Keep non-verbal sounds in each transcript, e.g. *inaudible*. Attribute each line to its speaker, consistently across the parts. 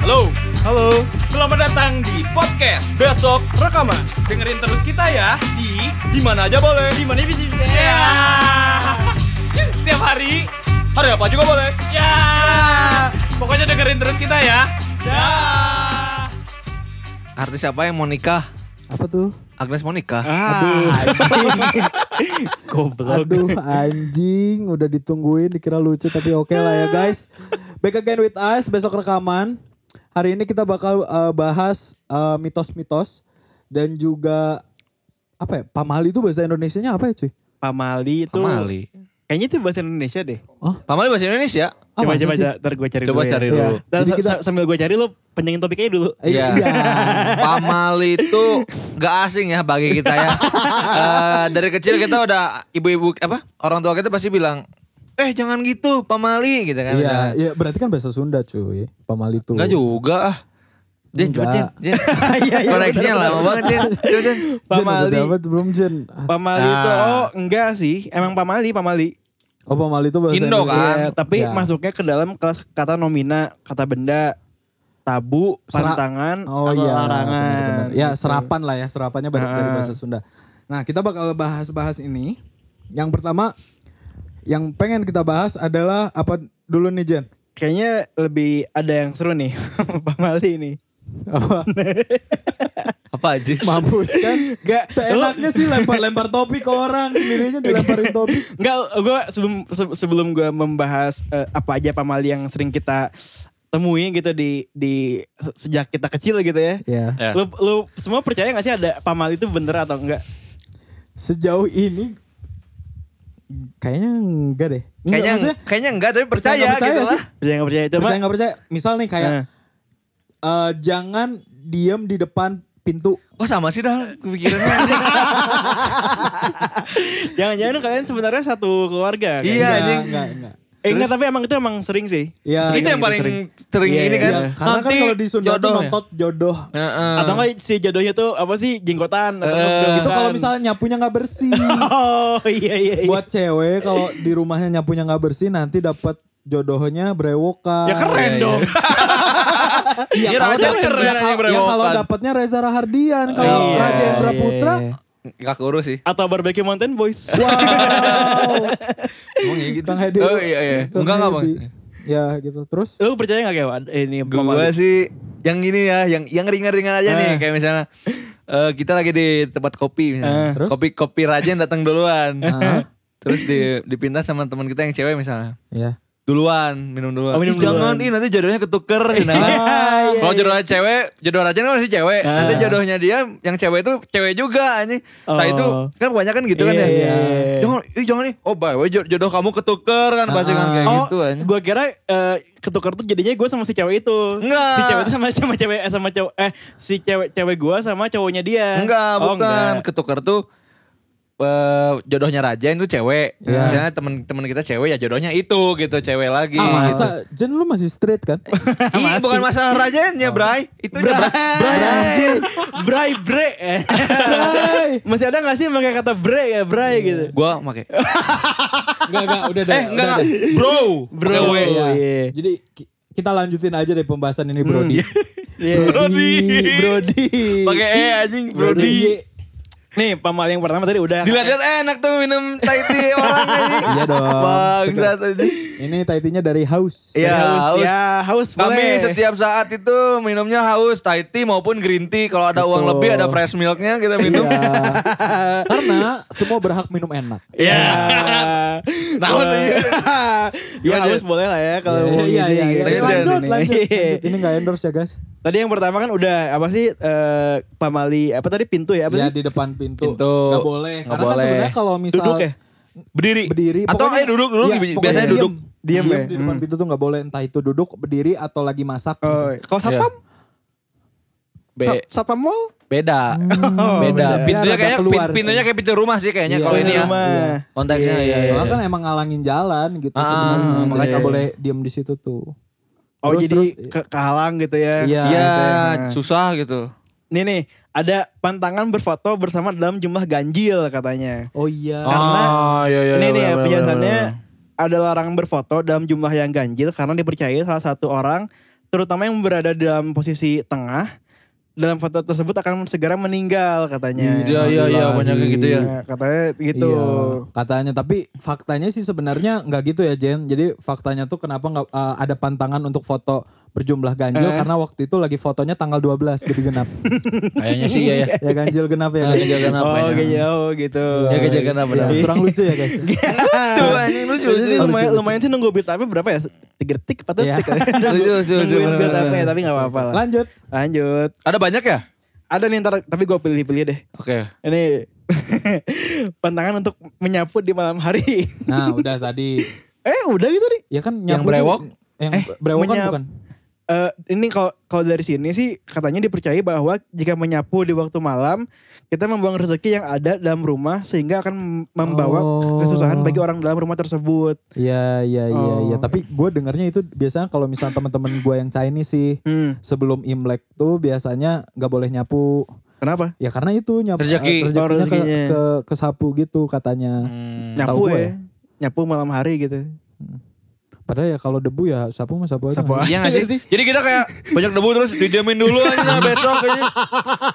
Speaker 1: Halo,
Speaker 2: Halo,
Speaker 1: selamat datang di podcast besok.
Speaker 2: rekaman.
Speaker 1: Dengerin terus kita ya di di mana aja boleh. Di mana bisa. Ya. *laughs* Setiap hari, hari apa juga boleh. Ya. Pokoknya dengerin terus kita ya. Ya.
Speaker 3: Artis apa yang mau nikah?
Speaker 4: apa tuh?
Speaker 3: Agnes mau nikah?
Speaker 2: Aduh, *laughs* goblok.
Speaker 4: Aduh anjing udah ditungguin dikira lucu tapi oke lah ya guys. Back again with us besok rekaman. Hari ini kita bakal uh, bahas uh, mitos-mitos dan juga apa ya? Pamali itu bahasa Indonesianya apa ya cuy?
Speaker 2: Pamali itu.
Speaker 3: Pamali.
Speaker 2: Kayaknya itu bahasa Indonesia deh.
Speaker 4: Oh.
Speaker 3: Pamali bahasa Indonesia.
Speaker 4: Apa
Speaker 2: Coba
Speaker 4: sih
Speaker 2: coba
Speaker 4: sih?
Speaker 2: coba, ntar gue cari
Speaker 3: Coba
Speaker 2: dulu
Speaker 3: cari
Speaker 2: ya.
Speaker 3: dulu.
Speaker 4: Iya.
Speaker 2: Ntar
Speaker 4: Jadi
Speaker 2: sa-
Speaker 4: kita-
Speaker 2: sa- sambil gue cari lu penyengin topiknya dulu.
Speaker 4: Iya.
Speaker 3: Pamali itu gak asing ya bagi kita
Speaker 4: *laughs*
Speaker 3: ya. Eh, dari kecil kita udah ibu-ibu apa orang tua kita pasti bilang, eh jangan gitu pamali gitu kan.
Speaker 4: Iya,
Speaker 3: misalnya.
Speaker 4: iya, berarti kan bahasa Sunda cuy. Pamali itu.
Speaker 3: Enggak juga ah. Din, cepet
Speaker 4: *laughs*
Speaker 3: Din.
Speaker 4: Enggak.
Speaker 3: Din.
Speaker 2: Iya, iya,
Speaker 3: Koneksinya lama banget Din. Cepet Din.
Speaker 4: Jen, udah
Speaker 2: Pamali.
Speaker 4: dapat belum Jen?
Speaker 2: Pamali itu
Speaker 3: Nah.
Speaker 2: oh enggak sih. Emang Pamali, Pamali.
Speaker 4: Oh Pamali itu bahasa
Speaker 3: Indo,
Speaker 4: Indonesia.
Speaker 3: kan?
Speaker 2: Iya, tapi
Speaker 4: Ya.
Speaker 2: masuknya ke dalam kelas kata nomina, kata benda, tabu,
Speaker 4: Sera-
Speaker 2: pantangan,
Speaker 4: Oh
Speaker 2: atau
Speaker 4: iya,
Speaker 2: larangan.
Speaker 4: benar-benar. Ya
Speaker 2: Gitu.
Speaker 4: serapan lah ya, serapannya bar- dari
Speaker 2: Ah.
Speaker 4: bahasa Sunda. Nah kita bakal bahas-bahas ini. Yang pertama, yang pengen kita bahas adalah apa dulu nih Jen?
Speaker 2: Kayaknya lebih ada yang seru nih, *laughs* Pamali *laughs* ini.
Speaker 4: Apa?
Speaker 3: Apa aja sih?
Speaker 4: Mampus kan? Gak, seenaknya sih lempar-lempar topik ke orang, sendirinya dilemparin topik.
Speaker 2: Enggak, gue sebelum se- sebelum gue membahas eh, apa aja pamali yang sering kita temui gitu di di se- sejak kita kecil gitu ya.
Speaker 4: Ya,
Speaker 3: Ya.
Speaker 2: Lu, lu semua percaya gak sih ada pamali itu bener atau enggak?
Speaker 4: sejauh ini kayaknya enggak deh. Enggak,
Speaker 3: Kayaknya
Speaker 4: maksudnya
Speaker 3: kayaknya enggak tapi
Speaker 4: percaya
Speaker 3: percaya,
Speaker 4: nggak percaya
Speaker 3: gitu
Speaker 4: sih?
Speaker 3: lah.
Speaker 2: Percaya gak percaya itu
Speaker 4: percaya
Speaker 2: Pak?
Speaker 4: nggak percaya? Misal nih kayak
Speaker 2: Eh.
Speaker 4: eh, jangan diem di depan pintu.
Speaker 3: Oh sama sih dah kepikirannya.
Speaker 2: Jangan-jangan kalian sebenarnya satu keluarga kan?
Speaker 3: Iya,
Speaker 4: Enggak,
Speaker 3: anjing.
Speaker 4: enggak, enggak.
Speaker 2: Eh enggak tapi emang itu emang sering sih.
Speaker 4: Ya,
Speaker 3: itu yang paling
Speaker 2: sering.
Speaker 3: sering
Speaker 2: Iya,
Speaker 3: ini
Speaker 2: iya.
Speaker 3: kan.
Speaker 4: Ya, karena kan
Speaker 3: Nanti
Speaker 4: kalau di Sunda tuh
Speaker 3: jodoh ya.
Speaker 4: nonton jodoh.
Speaker 3: Heeh.
Speaker 2: Atau enggak si jodohnya tuh apa sih jenggotan atau
Speaker 3: Ah. Eh.
Speaker 4: Itu kalau
Speaker 2: jenggotan.
Speaker 4: misalnya nyapunya nggak bersih.
Speaker 2: *laughs*
Speaker 3: *laughs*
Speaker 2: Oh iya iya iya.
Speaker 4: Buat cewek kalau di rumahnya nyapunya nggak bersih nanti dapat jodohnya brewokan.
Speaker 2: ya keren
Speaker 3: Iya, iya.
Speaker 2: dong.
Speaker 4: Iya,
Speaker 3: Iya,
Speaker 4: kalau
Speaker 3: Raja
Speaker 4: dapet-
Speaker 3: keren aja
Speaker 4: ya, kalau- ya, kalau
Speaker 3: brewokan.
Speaker 4: dapatnya Reza Rahardian, kalau
Speaker 2: Iya,
Speaker 4: Raja Indra
Speaker 2: iya,
Speaker 4: Putra, *laughs*
Speaker 2: iya.
Speaker 3: Gak kurus sih.
Speaker 2: Atau barbecue mountain boys.
Speaker 4: wow.
Speaker 3: Emang ya gitu.
Speaker 4: Kang Ah, Hedi.
Speaker 3: Oh iya iya.
Speaker 4: Kang
Speaker 3: Enggak enggak bang.
Speaker 4: Hedi. Ya gitu. Terus
Speaker 2: Lu percaya gak kayak Wad? ini
Speaker 3: Gue
Speaker 2: pamali?
Speaker 3: sih yang ini ya, yang yang ringan-ringan aja nih. Kayak misalnya eh, kita lagi di tempat kopi misalnya.
Speaker 4: Terus?
Speaker 3: Kopi kopi Rajen datang duluan. Terus di, dipinta sama teman kita yang cewek misalnya.
Speaker 4: ya.
Speaker 3: Duluan, minum duluan.
Speaker 2: Oh, minum
Speaker 3: Ih, jangan, ih nanti jodohnya ketuker. Nah, Kalau jodohnya cewek, jodoh Rajen kan masih cewek. Nanti jodohnya dia yang cewek itu cewek juga anjing. Nah
Speaker 2: Oh.
Speaker 3: itu kan kebanyakan gitu kan
Speaker 2: Iya,
Speaker 3: ya.
Speaker 2: iya, iya.
Speaker 3: Jangan, ih jangan nih. Oh, by the way, jodoh kamu ketuker kan pasti kan kayak
Speaker 2: Oh,
Speaker 3: gitu anjing.
Speaker 2: gue kira eh, ketukar tuh jadinya gue sama si cewek itu.
Speaker 3: Enggak.
Speaker 2: Si cewek itu sama sama cewek eh, sama cowok eh si cewek cewek gue sama cowoknya dia.
Speaker 3: Enggak,
Speaker 2: Oh,
Speaker 3: bukan.
Speaker 2: enggak.
Speaker 3: Ketuker tuh eh, jodohnya Rajen itu cewek.
Speaker 4: Iya.
Speaker 3: Misalnya teman-teman kita cewek ya jodohnya itu gitu, cewek lagi.
Speaker 4: Ah,
Speaker 3: gitu.
Speaker 4: masa Jen lu masih straight
Speaker 3: *laughs*
Speaker 4: kan? *laughs*
Speaker 3: Ih, bukan masalah Rajennya,
Speaker 4: Oh.
Speaker 3: Bray. Itu Bray.
Speaker 2: Anjir, Bray *laughs* bre. Eh.
Speaker 4: Bray.
Speaker 2: Masih ada gak sih yang pakai kata bre ya bray
Speaker 3: Iya.
Speaker 2: gitu.
Speaker 3: Gua make.
Speaker 4: Enggak Eh, enggak udah deh.
Speaker 3: Eh,
Speaker 4: udah
Speaker 3: enggak, enggak.
Speaker 4: deh.
Speaker 3: Bro.
Speaker 2: Bro.
Speaker 3: Pakai W.
Speaker 2: Iya.
Speaker 4: Ya. Jadi ki- kita lanjutin aja deh pembahasan ini Brody.
Speaker 3: Hmm. Brody.
Speaker 2: Brody.
Speaker 3: Pakai E anjing, Brody.
Speaker 2: Nih pamal yang pertama tadi udah.
Speaker 3: Dilihat eh, enak tuh minum Thai
Speaker 4: *laughs*
Speaker 3: tea orang anjing.
Speaker 4: Iya dong.
Speaker 3: Bangsat anjing.
Speaker 4: Ini titinya dari House.
Speaker 3: Iya,
Speaker 2: haus,
Speaker 3: haus.
Speaker 2: ya haus
Speaker 3: Kami
Speaker 2: boleh.
Speaker 3: setiap saat itu minumnya haus Thai tea maupun green tea. Kalau ada uang
Speaker 4: Betul.
Speaker 3: lebih ada fresh milknya kita *laughs* minum.
Speaker 4: Iya. Karena semua berhak minum enak.
Speaker 2: Ya.
Speaker 3: *laughs* Naon
Speaker 2: Wah. *laughs*
Speaker 3: iya.
Speaker 2: ya
Speaker 3: Gimana,
Speaker 2: harus
Speaker 3: Jen?
Speaker 2: boleh lah ya
Speaker 3: Oh,
Speaker 2: kalau mau
Speaker 4: iya,
Speaker 2: ngisi
Speaker 4: iya, iya.
Speaker 2: gitu.
Speaker 3: Lanjut,
Speaker 4: Lanjut,
Speaker 2: Ini.
Speaker 3: *laughs*
Speaker 4: lanjut,
Speaker 3: Iya.
Speaker 4: lanjut. Ini gak endorse ya guys.
Speaker 2: Tadi yang pertama kan udah apa sih eh, pamali apa tadi pintu ya apa
Speaker 4: Ya
Speaker 2: sih?
Speaker 4: di depan pintu.
Speaker 3: Pintu.
Speaker 4: Gak boleh.
Speaker 3: Nggak
Speaker 4: Karena kan
Speaker 3: boleh.
Speaker 4: sebenarnya kalau misal
Speaker 2: Duduk ya?
Speaker 3: Berdiri.
Speaker 4: berdiri.
Speaker 3: Atau
Speaker 4: pokoknya-
Speaker 3: eh duduk dulu
Speaker 4: Iya, pokoknya
Speaker 3: biasanya
Speaker 4: diem.
Speaker 3: duduk. Hmm.
Speaker 4: Diem,
Speaker 2: Diem ya?
Speaker 4: di depan pintu tuh gak boleh. Entah itu duduk, berdiri, atau lagi masak.
Speaker 2: Oh,
Speaker 4: misalnya.
Speaker 3: Iya,
Speaker 2: kalau satpam?
Speaker 3: Be-
Speaker 2: Sa- satpam mall?
Speaker 3: beda.
Speaker 2: Oh,
Speaker 3: beda.
Speaker 4: beda.
Speaker 3: Pintunya
Speaker 4: Biar
Speaker 3: kayak
Speaker 4: agak keluar
Speaker 3: pin- pintunya
Speaker 4: sih.
Speaker 3: kayak pintu rumah sih kayaknya
Speaker 4: Iya,
Speaker 3: kalau
Speaker 4: pintu
Speaker 3: ini ya.
Speaker 2: rumah.
Speaker 3: Konteksnya
Speaker 2: Iya,
Speaker 3: iya iya.
Speaker 4: Soalnya kan emang ngalangin jalan gitu
Speaker 3: Ah,
Speaker 4: sebenarnya. Jadi
Speaker 3: makanya.
Speaker 4: nggak boleh diem di situ tuh.
Speaker 2: Oh
Speaker 4: Terus,
Speaker 2: jadi
Speaker 4: terus.
Speaker 2: ke- kehalang gitu ya.
Speaker 4: Iya.
Speaker 3: Iya,
Speaker 2: Nah.
Speaker 3: susah gitu.
Speaker 2: Nih nih, ada pantangan berfoto bersama dalam jumlah ganjil katanya.
Speaker 4: Oh iya.
Speaker 2: Karena
Speaker 3: Ah, iya, iya,
Speaker 2: nih
Speaker 3: iya,
Speaker 2: nih
Speaker 3: iya, iya,
Speaker 2: penjelasannya
Speaker 3: iya,
Speaker 2: ada larangan berfoto dalam jumlah yang ganjil karena dipercaya salah satu orang terutama yang berada dalam posisi tengah dalam foto tersebut akan segera meninggal katanya.
Speaker 3: Iya iya iya banyak kayak gitu ya.
Speaker 2: Nah, katanya gitu.
Speaker 4: Iya, katanya tapi faktanya sih sebenarnya nggak gitu ya Jen. Jadi faktanya tuh kenapa nggak eh, ada pantangan untuk foto berjumlah
Speaker 2: Eh.
Speaker 4: ganjil karena waktu itu lagi fotonya tanggal 12 jadi genap.
Speaker 3: Kayaknya sih iya ya.
Speaker 4: ya ganjil genap ya guys.
Speaker 3: Kejadian apa
Speaker 2: Oh,
Speaker 3: ya?
Speaker 2: kayak jauh gitu.
Speaker 3: Ya kejadian apa dah?
Speaker 4: Kurang lucu ya guys.
Speaker 3: Tuh anjing lucu.
Speaker 2: Jadi
Speaker 3: lucu.
Speaker 2: lumayan, lumayan sih nunggu build up-nya berapa ya? 3 detik, 4
Speaker 4: Iya.
Speaker 2: detik.
Speaker 3: *laughs* Lucu, lucu, lucu.
Speaker 2: Nungguin build up-nya, tapi gak apa-apa lah.
Speaker 4: Lanjut.
Speaker 2: Lanjut.
Speaker 3: Ada banyak ya?
Speaker 2: Ada nih ntar, tapi gue pilih-pilih deh.
Speaker 3: Oke.
Speaker 2: Ini *laughs* pantangan untuk menyapu di malam hari. *laughs*
Speaker 4: Nah, udah tadi.
Speaker 2: eh udah gitu nih.
Speaker 4: Ya kan
Speaker 3: Yang
Speaker 4: nyapu
Speaker 3: brewok?
Speaker 4: tuh- Yang brewok kan
Speaker 2: menyap-
Speaker 4: bukan?
Speaker 2: Eh, ini kalau kalau dari sini sih katanya dipercaya bahwa jika menyapu di waktu malam kita membuang rezeki yang ada dalam rumah sehingga akan membawa
Speaker 4: Oh.
Speaker 2: kesusahan bagi orang dalam rumah tersebut.
Speaker 4: Iya, iya, iya, iya.
Speaker 2: Oh.
Speaker 4: Tapi gue dengarnya itu biasanya kalau misalnya teman-teman gue yang Chinese sih
Speaker 2: Hmm.
Speaker 4: sebelum Imlek tuh biasanya nggak boleh nyapu.
Speaker 2: Kenapa?
Speaker 4: Ya karena itu nyapu
Speaker 3: Rezeki.
Speaker 4: rezekinya
Speaker 2: Oh,
Speaker 4: ke,
Speaker 2: rezekinya.
Speaker 4: ke, ke sapu gitu katanya.
Speaker 3: Hmm.
Speaker 4: Tahu
Speaker 2: Nyapu
Speaker 4: gua
Speaker 2: ya.
Speaker 4: ya.
Speaker 2: Nyapu malam hari gitu.
Speaker 4: Padahal ya kalau debu ya sapu mah sapu aja.
Speaker 2: Sapu
Speaker 4: nggak sih?
Speaker 3: Iya gak sih? Jadi kita kayak banyak debu terus didiamin dulu aja besok kayaknya.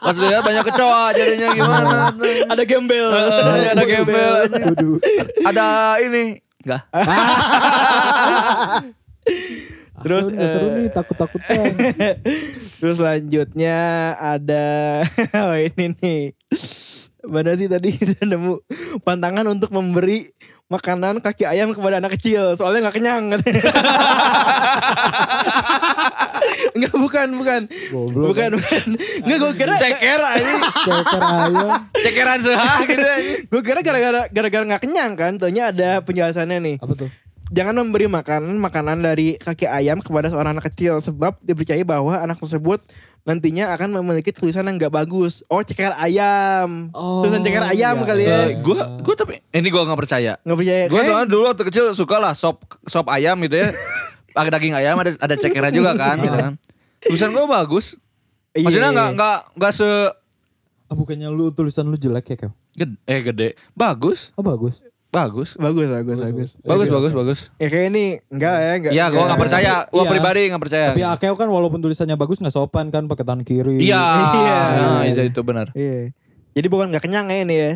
Speaker 3: Pas lihat banyak kecoa jadinya gimana.
Speaker 2: ada gembel.
Speaker 3: Eh, ada gembel. anjing.
Speaker 4: Waduh.
Speaker 3: Ada ini. Enggak.
Speaker 2: Terus,
Speaker 4: Terus nggak seru
Speaker 2: eh,
Speaker 4: nih takut-takut
Speaker 3: *laughs*
Speaker 4: banget.
Speaker 2: Terus selanjutnya ada *laughs* oh ini nih. Mana sih tadi *laughs* udah nemu pantangan untuk memberi makanan kaki ayam kepada anak kecil soalnya nggak kenyang. *laughs* Enggak bukan bukan.
Speaker 4: Goblok.
Speaker 2: Bukan bukan. Enggak gue kira
Speaker 3: Ceker aja.
Speaker 4: Ceker ayam.
Speaker 3: Cekeran sehah
Speaker 2: *laughs*
Speaker 3: gitu anjing.
Speaker 2: gue kira gara-gara gara-gara nggak kenyang kan. Ternyata ada penjelasannya nih.
Speaker 4: Apa tuh?
Speaker 2: Jangan memberi makanan makanan dari kaki ayam kepada seorang anak kecil sebab dipercaya bahwa anak tersebut nantinya akan memiliki tulisan yang gak bagus. Oh, ceker ayam.
Speaker 4: Oh,
Speaker 2: tulisan ceker ayam
Speaker 4: iya,
Speaker 2: kali
Speaker 4: iya.
Speaker 2: ya.
Speaker 3: Eh, Gue gue tapi ini gue nggak percaya.
Speaker 2: Nggak percaya. Eh,
Speaker 3: Gue
Speaker 2: Kayak-
Speaker 3: soalnya dulu waktu kecil suka lah sop sop ayam gitu ya. Ada daging ayam, ada ada cekeran juga kan, gitu kan. Tulisan gue bagus.
Speaker 2: Iya.
Speaker 3: Maksudnya nggak nggak nggak se
Speaker 4: Ah, bukannya lu tulisan lu jelek ya, Kev?
Speaker 3: gede, eh gede. Bagus,
Speaker 4: Oh bagus.
Speaker 3: bagus,
Speaker 2: bagus, bagus, bagus.
Speaker 3: bagus, bagus, bagus.
Speaker 2: Ya kayak ini enggak ya, enggak.
Speaker 3: Iya, gue nggak percaya. Gue
Speaker 4: Iya.
Speaker 3: pribadi nggak percaya.
Speaker 4: Tapi Akeo kan walaupun tulisannya bagus nggak sopan kan pakai tangan kiri.
Speaker 3: Iya,
Speaker 2: Iya.
Speaker 3: nah, itu itu benar.
Speaker 2: Iya. Jadi bukan gak kenyang ya ini ya.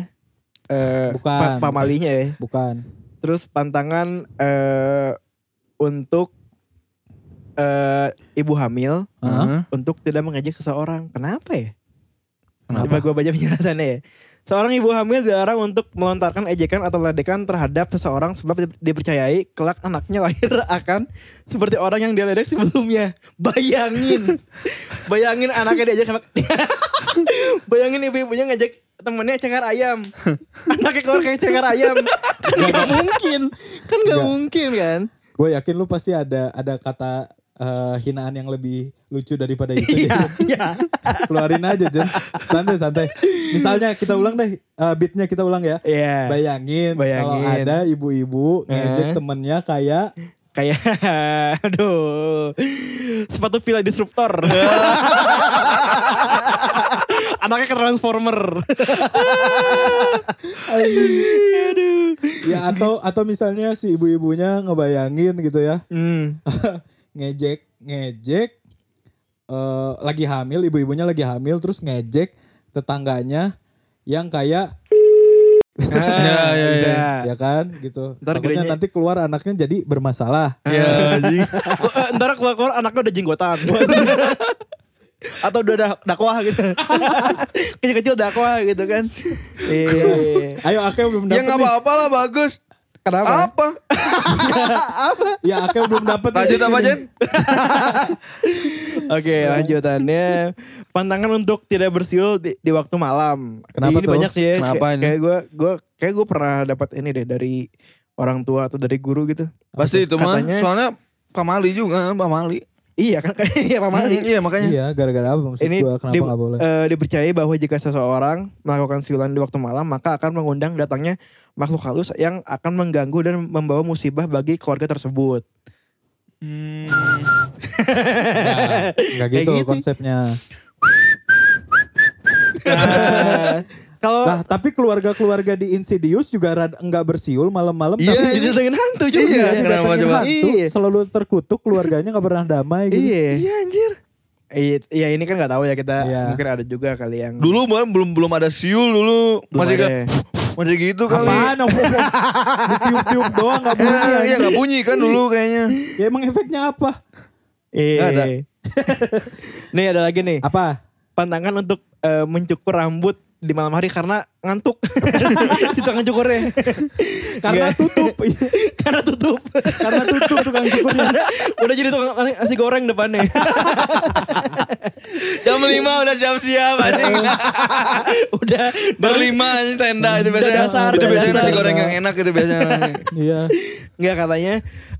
Speaker 2: Eh,
Speaker 4: Bukan.
Speaker 2: pa- pamalinya ya.
Speaker 4: Bukan.
Speaker 2: Terus pantangan eh untuk eh ibu hamil
Speaker 3: Heeh.
Speaker 2: untuk tidak mengejek seseorang. Kenapa ya?
Speaker 3: Kenapa?
Speaker 2: Coba gue baca penjelasannya ya. Seorang ibu hamil dilarang untuk melontarkan ejekan atau ledekan terhadap seseorang sebab di- dipercayai kelak anaknya lahir *laughs* akan seperti orang yang dia ledek sebelumnya. Bayangin. Bayangin anaknya diajak sama... *laughs* Bayangin ibu-ibunya ngajak temennya cengar ayam. Anaknya keluar kayak cengar ayam. Kan gak mungkin. Kan gak mungkin kan.
Speaker 4: Gue yakin lu pasti ada ada kata eh, hinaan yang lebih lucu daripada itu. *laughs*
Speaker 2: Iya, iya.
Speaker 4: Keluarin aja Jen. Santai santai. Misalnya kita ulang deh eh, beatnya kita ulang ya.
Speaker 2: Iya.
Speaker 4: Bayangin, kalau
Speaker 2: Bayangin.
Speaker 4: ada ibu-ibu ngejek
Speaker 2: Eh.
Speaker 4: temennya kayak
Speaker 2: Kayak *laughs* aduh sepatu Villa Disruptor. *laughs* Anaknya ke Transformer. aduh.
Speaker 4: ya atau atau misalnya si ibu-ibunya ngebayangin gitu ya. *laughs*
Speaker 2: Hmm.
Speaker 4: ngejek ngejek eh, lagi hamil ibu-ibunya lagi hamil terus ngejek tetangganya yang kayak *laughs*
Speaker 2: Ya, ya, ya.
Speaker 4: ya kan gitu
Speaker 2: Ntar
Speaker 4: Takutnya
Speaker 2: gerejek.
Speaker 4: nanti keluar anaknya jadi bermasalah
Speaker 2: Ya, *laughs* Ntar keluar-keluar anaknya udah jenggotan. Atau udah dah- dakwah gitu. *laughs* Kecil-kecil dakwah gitu *laughs* kan. Iya.
Speaker 4: ayo Akeo belum
Speaker 3: Ya
Speaker 4: dapet
Speaker 3: nggak
Speaker 4: nih.
Speaker 3: apa-apa lah, bagus.
Speaker 2: Kenapa?
Speaker 3: Apa?
Speaker 4: ya Akeo belum dapet nih.
Speaker 3: Lanjut apa Jen?
Speaker 2: Oke
Speaker 4: Iya.
Speaker 2: lanjutannya pantangan untuk tidak bersiul di, di waktu malam.
Speaker 4: Kenapa
Speaker 2: ini
Speaker 4: tuh?
Speaker 2: banyak sih ya.
Speaker 3: Kenapa
Speaker 2: Kayak-
Speaker 3: ini?
Speaker 2: Kayak gue gue kayak gue pernah dapat ini deh dari orang tua atau dari guru gitu.
Speaker 3: Pasti itu mah.
Speaker 2: Katanya-
Speaker 3: Soalnya Pamali juga, Pamali.
Speaker 2: Iya kan *laughs* kayak iya Pak Mali.
Speaker 3: Iya makanya.
Speaker 4: iya gara-gara apa maksud
Speaker 2: Ini
Speaker 4: gua kenapa
Speaker 2: di-
Speaker 4: nggak
Speaker 2: *laughs*
Speaker 4: boleh Nah,
Speaker 2: eh, dipercaya bahwa jika seseorang melakukan siulan di waktu malam maka akan mengundang datangnya makhluk halus yang akan mengganggu dan membawa musibah bagi keluarga
Speaker 4: *laughs*
Speaker 2: tersebut.
Speaker 4: nggak
Speaker 2: kayak
Speaker 4: gitu
Speaker 2: *laughs* gitu.
Speaker 4: konsepnya
Speaker 2: Kalau
Speaker 4: Lah, tapi keluarga-keluarga di Insidious juga rada enggak bersiul malam-malam
Speaker 3: Iya,
Speaker 4: tapi
Speaker 2: jadi dengan hantu juga.
Speaker 3: Iya,
Speaker 4: yang
Speaker 3: kenapa
Speaker 4: datangin
Speaker 3: coba?
Speaker 4: hantu,
Speaker 2: Iya.
Speaker 4: selalu terkutuk, keluarganya enggak pernah damai gitu.
Speaker 2: Iya.
Speaker 3: Iya anjir.
Speaker 2: Iya, iya, ini kan nggak tahu ya kita.
Speaker 4: Iya.
Speaker 2: Mungkin ada juga kali yang
Speaker 3: Dulu mah belum belum ada siul dulu. masih
Speaker 2: ada
Speaker 3: kan
Speaker 2: ya.
Speaker 3: masih gitu kali. *laughs*
Speaker 4: Apaan om, om, om? Ditiup-tiup doang gak bunyi
Speaker 3: Iya, iya
Speaker 4: anjing.
Speaker 3: enggak bunyi kan dulu kayaknya.
Speaker 4: Ya emang efeknya apa?
Speaker 2: Iya.
Speaker 3: Nggak ada.
Speaker 2: *laughs* nih ada lagi nih.
Speaker 4: Eh. Apa?
Speaker 2: Pantangan untuk eh, mencukur rambut di malam hari karena
Speaker 4: *laughs*
Speaker 2: ngantuk. Di tukang cukurnya. Nggak.
Speaker 4: Karena
Speaker 3: *laughs*
Speaker 4: tutup. Iya,
Speaker 2: karena tutup.
Speaker 4: Karena tutup tukang cukurnya.
Speaker 2: *laughs* Udah jadi tukang nasi goreng
Speaker 4: *laughs*
Speaker 2: depannya.
Speaker 3: Jam 5 udah siap-siap
Speaker 2: Eh,
Speaker 3: anjing.
Speaker 2: Udah
Speaker 3: Berlima anjing tenda itu biasanya.
Speaker 2: dasar,
Speaker 3: itu
Speaker 2: udah
Speaker 3: biasanya nasi
Speaker 2: dasar.
Speaker 3: goreng yang enak itu
Speaker 2: *laughs*
Speaker 3: biasanya.
Speaker 4: Iya.
Speaker 2: Enggak katanya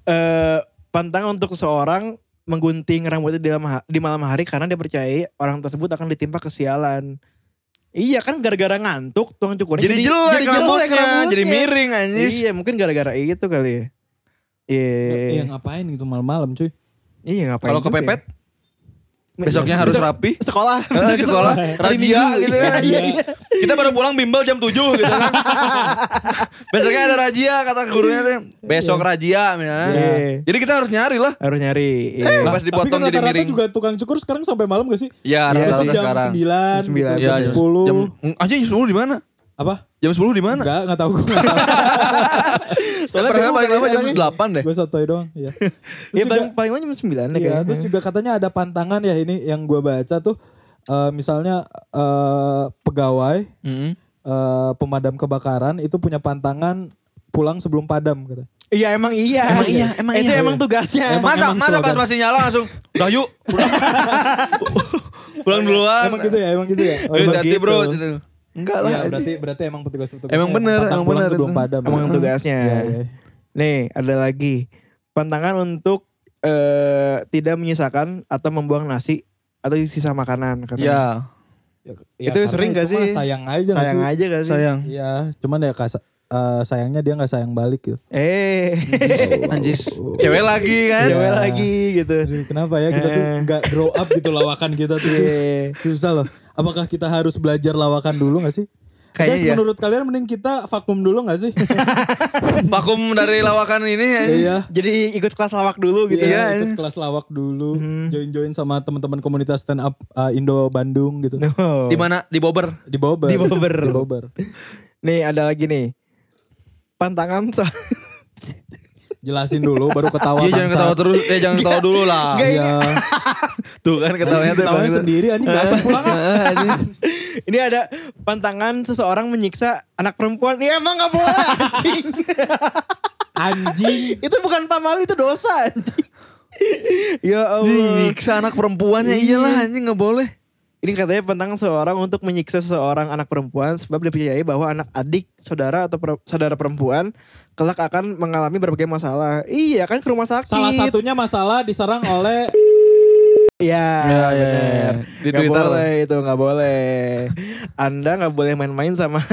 Speaker 2: eh pantangan untuk seorang menggunting rambutnya di malam, ha- di malam hari karena dia percaya orang tersebut akan ditimpa kesialan. Iya kan gara-gara ngantuk tukang cukurnya
Speaker 3: jadi jelek rambutnya,
Speaker 2: rambutnya.
Speaker 3: jadi miring anjing.
Speaker 2: Iya mungkin gara-gara itu kali ya. Iya.
Speaker 4: Iya ngapain gitu malam-malam cuy.
Speaker 2: Iya ngapain?
Speaker 3: Kalau
Speaker 2: juga ya?
Speaker 3: kepepet besoknya harus
Speaker 2: *laughs*
Speaker 3: rapi.
Speaker 2: sekolah.
Speaker 3: Eh, sekolah,
Speaker 2: *laughs* Hari
Speaker 3: razia
Speaker 2: Minggu.
Speaker 3: gitu kan.
Speaker 2: Iya, iya.
Speaker 3: Kita baru pulang bimbel jam 7 gitu
Speaker 2: *laughs*
Speaker 3: kan. Besoknya ada razia kata gurunya tuh. Besok razia misalnya.
Speaker 2: Iya.
Speaker 3: Jadi kita harus nyari lah.
Speaker 2: Harus nyari. Iya.
Speaker 3: Pas
Speaker 4: Tapi
Speaker 3: dipotong
Speaker 4: kan
Speaker 3: jadi
Speaker 4: rata-rata
Speaker 3: miring.
Speaker 4: juga tukang cukur sekarang sampai malam gak sih?
Speaker 3: Ya,
Speaker 4: Masih
Speaker 3: rata-rata
Speaker 4: jam
Speaker 3: sekarang.
Speaker 4: 9,
Speaker 2: Sembilan,
Speaker 4: gitu,
Speaker 3: Ya,
Speaker 4: jam
Speaker 3: jam
Speaker 4: 10.
Speaker 3: Jam, Kan- aja jam 10 di mana?
Speaker 4: apa?
Speaker 3: Jam 10 di mana?
Speaker 4: Enggak, enggak tahu gue.
Speaker 3: *laughs*
Speaker 4: nggak tahu.
Speaker 3: Soalnya perasaan
Speaker 4: bingung
Speaker 3: eh, paling lama
Speaker 4: kan
Speaker 3: jam 8 deh.
Speaker 4: orangnya.
Speaker 3: ya.
Speaker 4: Gue satoy doang.
Speaker 3: *laughs*
Speaker 4: Iya.
Speaker 2: Iya
Speaker 4: Terus juga-
Speaker 2: paling paling lama jam 9 deh
Speaker 4: Iya,
Speaker 2: kayaknya.
Speaker 4: terus juga katanya ada pantangan ya ini yang gua baca tuh eh, misalnya eh, pegawai
Speaker 3: Mm-mm.
Speaker 4: eh, pemadam kebakaran itu punya pantangan pulang sebelum padam kata.
Speaker 2: Iya emang iya.
Speaker 3: Emang iya, emang
Speaker 2: Itu
Speaker 3: iya.
Speaker 2: emang tugasnya.
Speaker 3: masa
Speaker 4: emang
Speaker 3: masa pas
Speaker 4: slogan.
Speaker 3: masih nyala langsung, "Dah yuk." Pulang, *laughs* pulang duluan.
Speaker 4: Emang gitu ya, emang gitu ya. Oh,
Speaker 3: Ah, Eh,
Speaker 4: emang
Speaker 3: nanti
Speaker 4: gitu.
Speaker 3: bro. Enggak lah.
Speaker 4: Iya, berarti berarti emang petugas-petugas.
Speaker 3: Emang bener, emang
Speaker 4: pulang
Speaker 3: bener
Speaker 4: sebelum
Speaker 3: itu.
Speaker 4: padam.
Speaker 2: Emang
Speaker 4: Heeh.
Speaker 2: tugasnya.
Speaker 4: Iya, iya.
Speaker 2: Nih ada lagi pantangan untuk eh tidak menyisakan atau membuang nasi atau sisa makanan katanya.
Speaker 3: Ya,
Speaker 4: Ya,
Speaker 2: Itu
Speaker 4: karena
Speaker 2: sering nggak
Speaker 4: itu mah
Speaker 2: sih?
Speaker 4: Sayang aja nggak
Speaker 2: Sayang
Speaker 4: sih?
Speaker 2: aja gak sih?
Speaker 3: sayang.
Speaker 4: Iya, cuman ya kas, eh, sayangnya dia nggak sayang balik gitu.
Speaker 2: Eh,
Speaker 3: Iya. Anjis. Cewek lagi
Speaker 4: Iya.
Speaker 3: kan?
Speaker 2: cewek lagi gitu.
Speaker 4: Aduh, kenapa ya kita tuh
Speaker 2: Eh.
Speaker 4: nggak grow up gitu lawakan kita tuh. cuy.
Speaker 2: Iya.
Speaker 4: Susah loh. Apakah kita harus belajar lawakan dulu gak sih?
Speaker 3: Kayaknya
Speaker 4: Guys,
Speaker 3: iya.
Speaker 4: menurut kalian mending kita vakum dulu gak sih?
Speaker 3: Vakum dari lawakan ini. ya. anjing.
Speaker 4: Iya. kan,
Speaker 2: Jadi ikut kelas lawak dulu gitu.
Speaker 3: Iya.
Speaker 4: ikut kelas lawak dulu, join-join sama teman-teman komunitas stand up uh, Indo Bandung gitu.
Speaker 2: No.
Speaker 3: Di mana? Di Bobber.
Speaker 4: Di Bobber.
Speaker 2: Di Bobber.
Speaker 4: Di Bobber.
Speaker 2: Nih ada lagi nih. Pantangan so-
Speaker 4: Jelasin dulu baru ketawa.
Speaker 3: Iya jangan
Speaker 4: bangsat.
Speaker 3: ketawa terus, eh jangan ketawa dulu lah.
Speaker 2: Nggak,
Speaker 4: Iya.
Speaker 3: Tuh kan ketawanya tuh
Speaker 4: Ketawanya
Speaker 3: bangsa.
Speaker 4: sendiri anjing gak asik pulang ah.
Speaker 2: *laughs* Ini ada pantangan seseorang menyiksa anak perempuan. Ya emang gak boleh anjing.
Speaker 4: Anjing.
Speaker 2: itu bukan pamal itu dosa anjing. ya
Speaker 3: Anjing,
Speaker 2: Allah.
Speaker 3: Nyiksa anak perempuannya iyalah anjing nggak boleh.
Speaker 2: Ini katanya pantangan seorang untuk menyiksa seseorang anak perempuan sebab dipercayai bahwa anak adik, saudara atau per- saudara perempuan kelak akan mengalami berbagai masalah. Iya kan ke rumah sakit.
Speaker 4: Salah satunya masalah diserang oleh
Speaker 2: Iya,
Speaker 3: Ya, ya,
Speaker 2: bener.
Speaker 3: ya. Di
Speaker 2: Nggak
Speaker 3: Twitter.
Speaker 2: boleh itu nggak boleh. Anda nggak boleh main-main sama *laughs*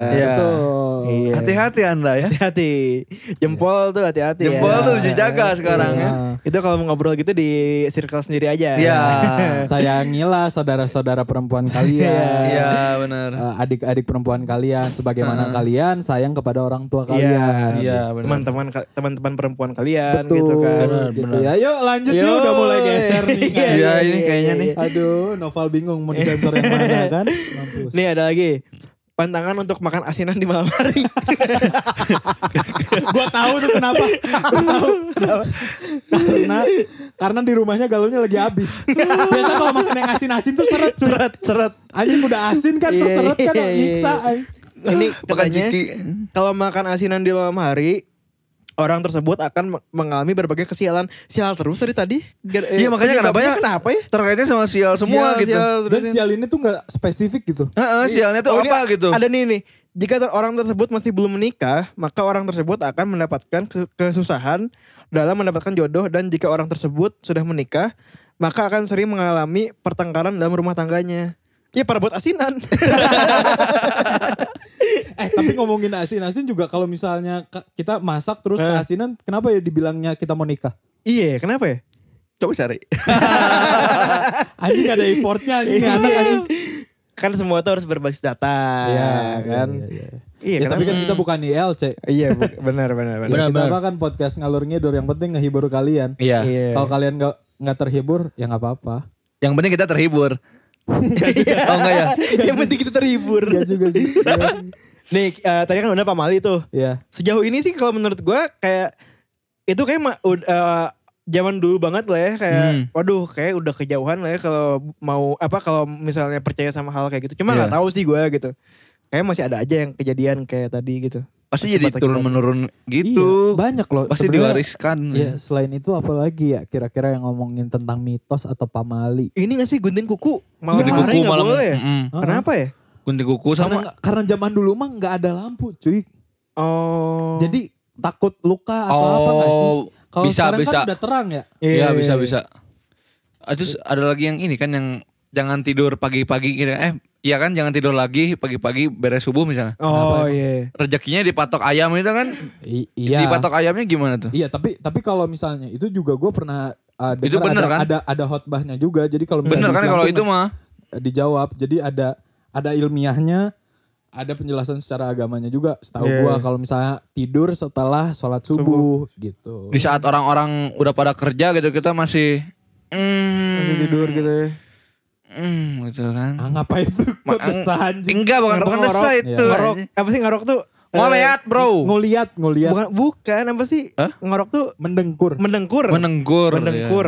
Speaker 3: Iya.
Speaker 4: Betul.
Speaker 2: Iya.
Speaker 3: Hati-hati anda ya.
Speaker 2: hati-hati. Jempol tuh hati-hati. ya.
Speaker 3: Jempol tuh dijaga sekarang ya.
Speaker 2: Itu kalau mau ngobrol gitu di circle sendiri aja.
Speaker 3: Iya.
Speaker 4: eh, Sayangilah saudara-saudara perempuan kalian.
Speaker 3: Iya benar.
Speaker 4: Eh, adik-adik perempuan kalian sebagaimana kalian sayang kepada orang tua
Speaker 2: Iya,
Speaker 4: kalian.
Speaker 3: Iya, benar.
Speaker 2: Teman-teman teman-teman perempuan kalian
Speaker 4: Betul.
Speaker 2: gitu kan.
Speaker 3: Benar,
Speaker 4: gitu
Speaker 3: benar.
Speaker 4: Ya, yuk lanjut yuk udah mulai geser nih.
Speaker 2: Iya,
Speaker 3: Iya
Speaker 2: iya,
Speaker 3: ini
Speaker 2: iya,
Speaker 3: kayaknya
Speaker 2: iya,
Speaker 3: nih.
Speaker 4: Aduh, Noval bingung mau disensor yang mana kan? Mampus.
Speaker 2: Nih ada lagi. Pantangan untuk makan asinan di malam hari.
Speaker 4: gua tahu tuh kenapa. Gua tahu. karena karena di rumahnya galonnya lagi habis. Biasa kalau makan yang asin-asin tuh seret. cuy.
Speaker 2: seret, seret.
Speaker 4: Anjing udah asin kan terus
Speaker 2: Iya,
Speaker 4: seret kan
Speaker 2: iya, iya.
Speaker 4: nyiksa. anjing.
Speaker 2: Ini
Speaker 3: *laughs* Makan
Speaker 2: katanya
Speaker 3: ciki.
Speaker 2: kalau makan asinan di malam hari orang tersebut akan me- mengalami berbagai kesialan. Sial terus dari tadi. Gar- eh,
Speaker 3: Iya makanya kenapa
Speaker 2: penyebabnya
Speaker 3: ya? Kenapa ya? Terkaitnya sama sial semua
Speaker 2: Sial,
Speaker 3: gitu.
Speaker 2: sial
Speaker 4: Dan
Speaker 2: terus ini.
Speaker 4: sial ini tuh gak spesifik gitu.
Speaker 3: Heeh, sialnya tuh
Speaker 2: Oh, ini
Speaker 3: apa gitu?
Speaker 2: Ada nih nih. Jika ter- orang tersebut masih belum menikah, maka orang tersebut akan mendapatkan ke- kesusahan dalam mendapatkan jodoh dan jika orang tersebut sudah menikah, maka akan sering mengalami pertengkaran dalam rumah tangganya. Ya para buat asinan. *laughs*
Speaker 4: Eh tapi ngomongin asin-asin juga kalau misalnya ka- kita masak
Speaker 2: Eh.
Speaker 4: terus keasinan kenapa ya dibilangnya kita
Speaker 2: *laughs*
Speaker 4: mau nikah?
Speaker 2: iya, kenapa ya?
Speaker 3: Coba cari.
Speaker 2: Iya,
Speaker 4: Anjing gak ada effortnya anjing anak anjing.
Speaker 2: kan semua tuh harus berbasis data
Speaker 4: Iya,
Speaker 2: kan.
Speaker 4: iya, iya, iya.
Speaker 2: Iya,
Speaker 4: Ya,
Speaker 2: karena-
Speaker 4: tapi kan kita bukan ILC.
Speaker 2: Iya bu- benar benar benar. *laughs*
Speaker 4: Kita apa kan podcast ngalur ngidul yang penting ngehibur
Speaker 3: *laughs*
Speaker 4: kalian.
Speaker 3: Iya.
Speaker 2: Iya.
Speaker 4: Kalau kalian nggak nggak terhibur ya nggak apa-apa.
Speaker 3: Yang penting kita terhibur. Tahu enggak ya?
Speaker 2: Yang penting Iya, kita terhibur.
Speaker 4: Gak Iya juga
Speaker 2: *laughs*
Speaker 4: sih.
Speaker 2: Iya. Nih eh, tadi kan udah Pak Mali tuh.
Speaker 4: Iya.
Speaker 2: Sejauh ini sih kalau menurut gua kayak itu kayak ma- ud- eh, zaman dulu banget lah ya kayak
Speaker 3: Hmm.
Speaker 2: waduh kayak udah kejauhan lah ya kalau mau apa kalau misalnya percaya sama hal kayak gitu. Cuma nggak
Speaker 3: Iya.
Speaker 2: tahu sih gua gitu. Kayak masih ada aja yang kejadian kayak tadi gitu.
Speaker 3: Pasti jadi
Speaker 2: Akibat-akibat.
Speaker 3: turun menurun
Speaker 4: Iya,
Speaker 3: gitu.
Speaker 4: banyak loh.
Speaker 3: Pasti
Speaker 4: sebenarnya.
Speaker 3: diwariskan.
Speaker 4: Iya, selain itu apalagi ya kira-kira yang ngomongin tentang mitos atau pamali.
Speaker 2: Ini gak sih gunting kuku malam
Speaker 4: Gunting
Speaker 2: hari
Speaker 3: kuku
Speaker 2: nggak
Speaker 3: malam,
Speaker 2: boleh ya?
Speaker 3: mm-mm.
Speaker 2: Kenapa ya?
Speaker 3: Gunting kuku
Speaker 4: Karena
Speaker 3: sama
Speaker 4: nggak- karena zaman dulu mah nggak ada lampu, cuy.
Speaker 2: Oh.
Speaker 4: Jadi takut luka atau apa nggak sih?
Speaker 3: Oh,
Speaker 4: Kalau
Speaker 3: bisa,
Speaker 4: sekarang
Speaker 3: bisa.
Speaker 4: kan udah terang ya.
Speaker 3: Iya
Speaker 2: Iya,
Speaker 3: bisa
Speaker 2: iya,
Speaker 3: bisa. Ah, Terus ada lagi yang ini kan yang jangan tidur pagi-pagi gitu. Eh iya kan jangan tidur lagi pagi-pagi beres subuh misalnya.
Speaker 2: Oh iya.
Speaker 3: Rezekinya dipatok ayam itu kan.
Speaker 4: I- iya.
Speaker 3: Dipatok ayamnya gimana tuh?
Speaker 4: Iya, tapi tapi kalau misalnya itu juga gue pernah uh,
Speaker 3: Itu
Speaker 4: dengar
Speaker 3: bener
Speaker 4: ada,
Speaker 3: kan?
Speaker 4: ada ada khotbahnya juga. Jadi kalau misalnya
Speaker 3: Bener
Speaker 4: di
Speaker 3: kan
Speaker 4: Islam
Speaker 3: kalau
Speaker 4: tuh
Speaker 3: itu mah.
Speaker 4: nggak- dijawab. Jadi ada ada ilmiahnya, ada penjelasan secara agamanya juga. Setahu
Speaker 2: Iya,
Speaker 4: gua
Speaker 2: iya.
Speaker 4: kalau misalnya tidur setelah sholat subuh, gitu.
Speaker 3: Di saat orang-orang udah pada kerja gitu kita masih mm,
Speaker 2: Masih tidur gitu ya.
Speaker 3: mm, gitu kan.
Speaker 4: Ah, ngapain itu?
Speaker 3: Ma-
Speaker 4: Ketesan anjing.
Speaker 3: Enggak Eh, bukan bukan
Speaker 2: Ngorok,
Speaker 3: desa
Speaker 2: ngorok.
Speaker 3: itu.
Speaker 2: Ngorok. Apa sih ngorok tuh? eh,
Speaker 3: Ngoleat, Bro.
Speaker 4: Ngeliat, ngeliat.
Speaker 2: Bukan bukan apa sih?
Speaker 3: Hah?
Speaker 2: Ngorok tuh
Speaker 4: Mendengkur.
Speaker 2: mendengkur.
Speaker 3: Menengkur.
Speaker 2: Mendengkur.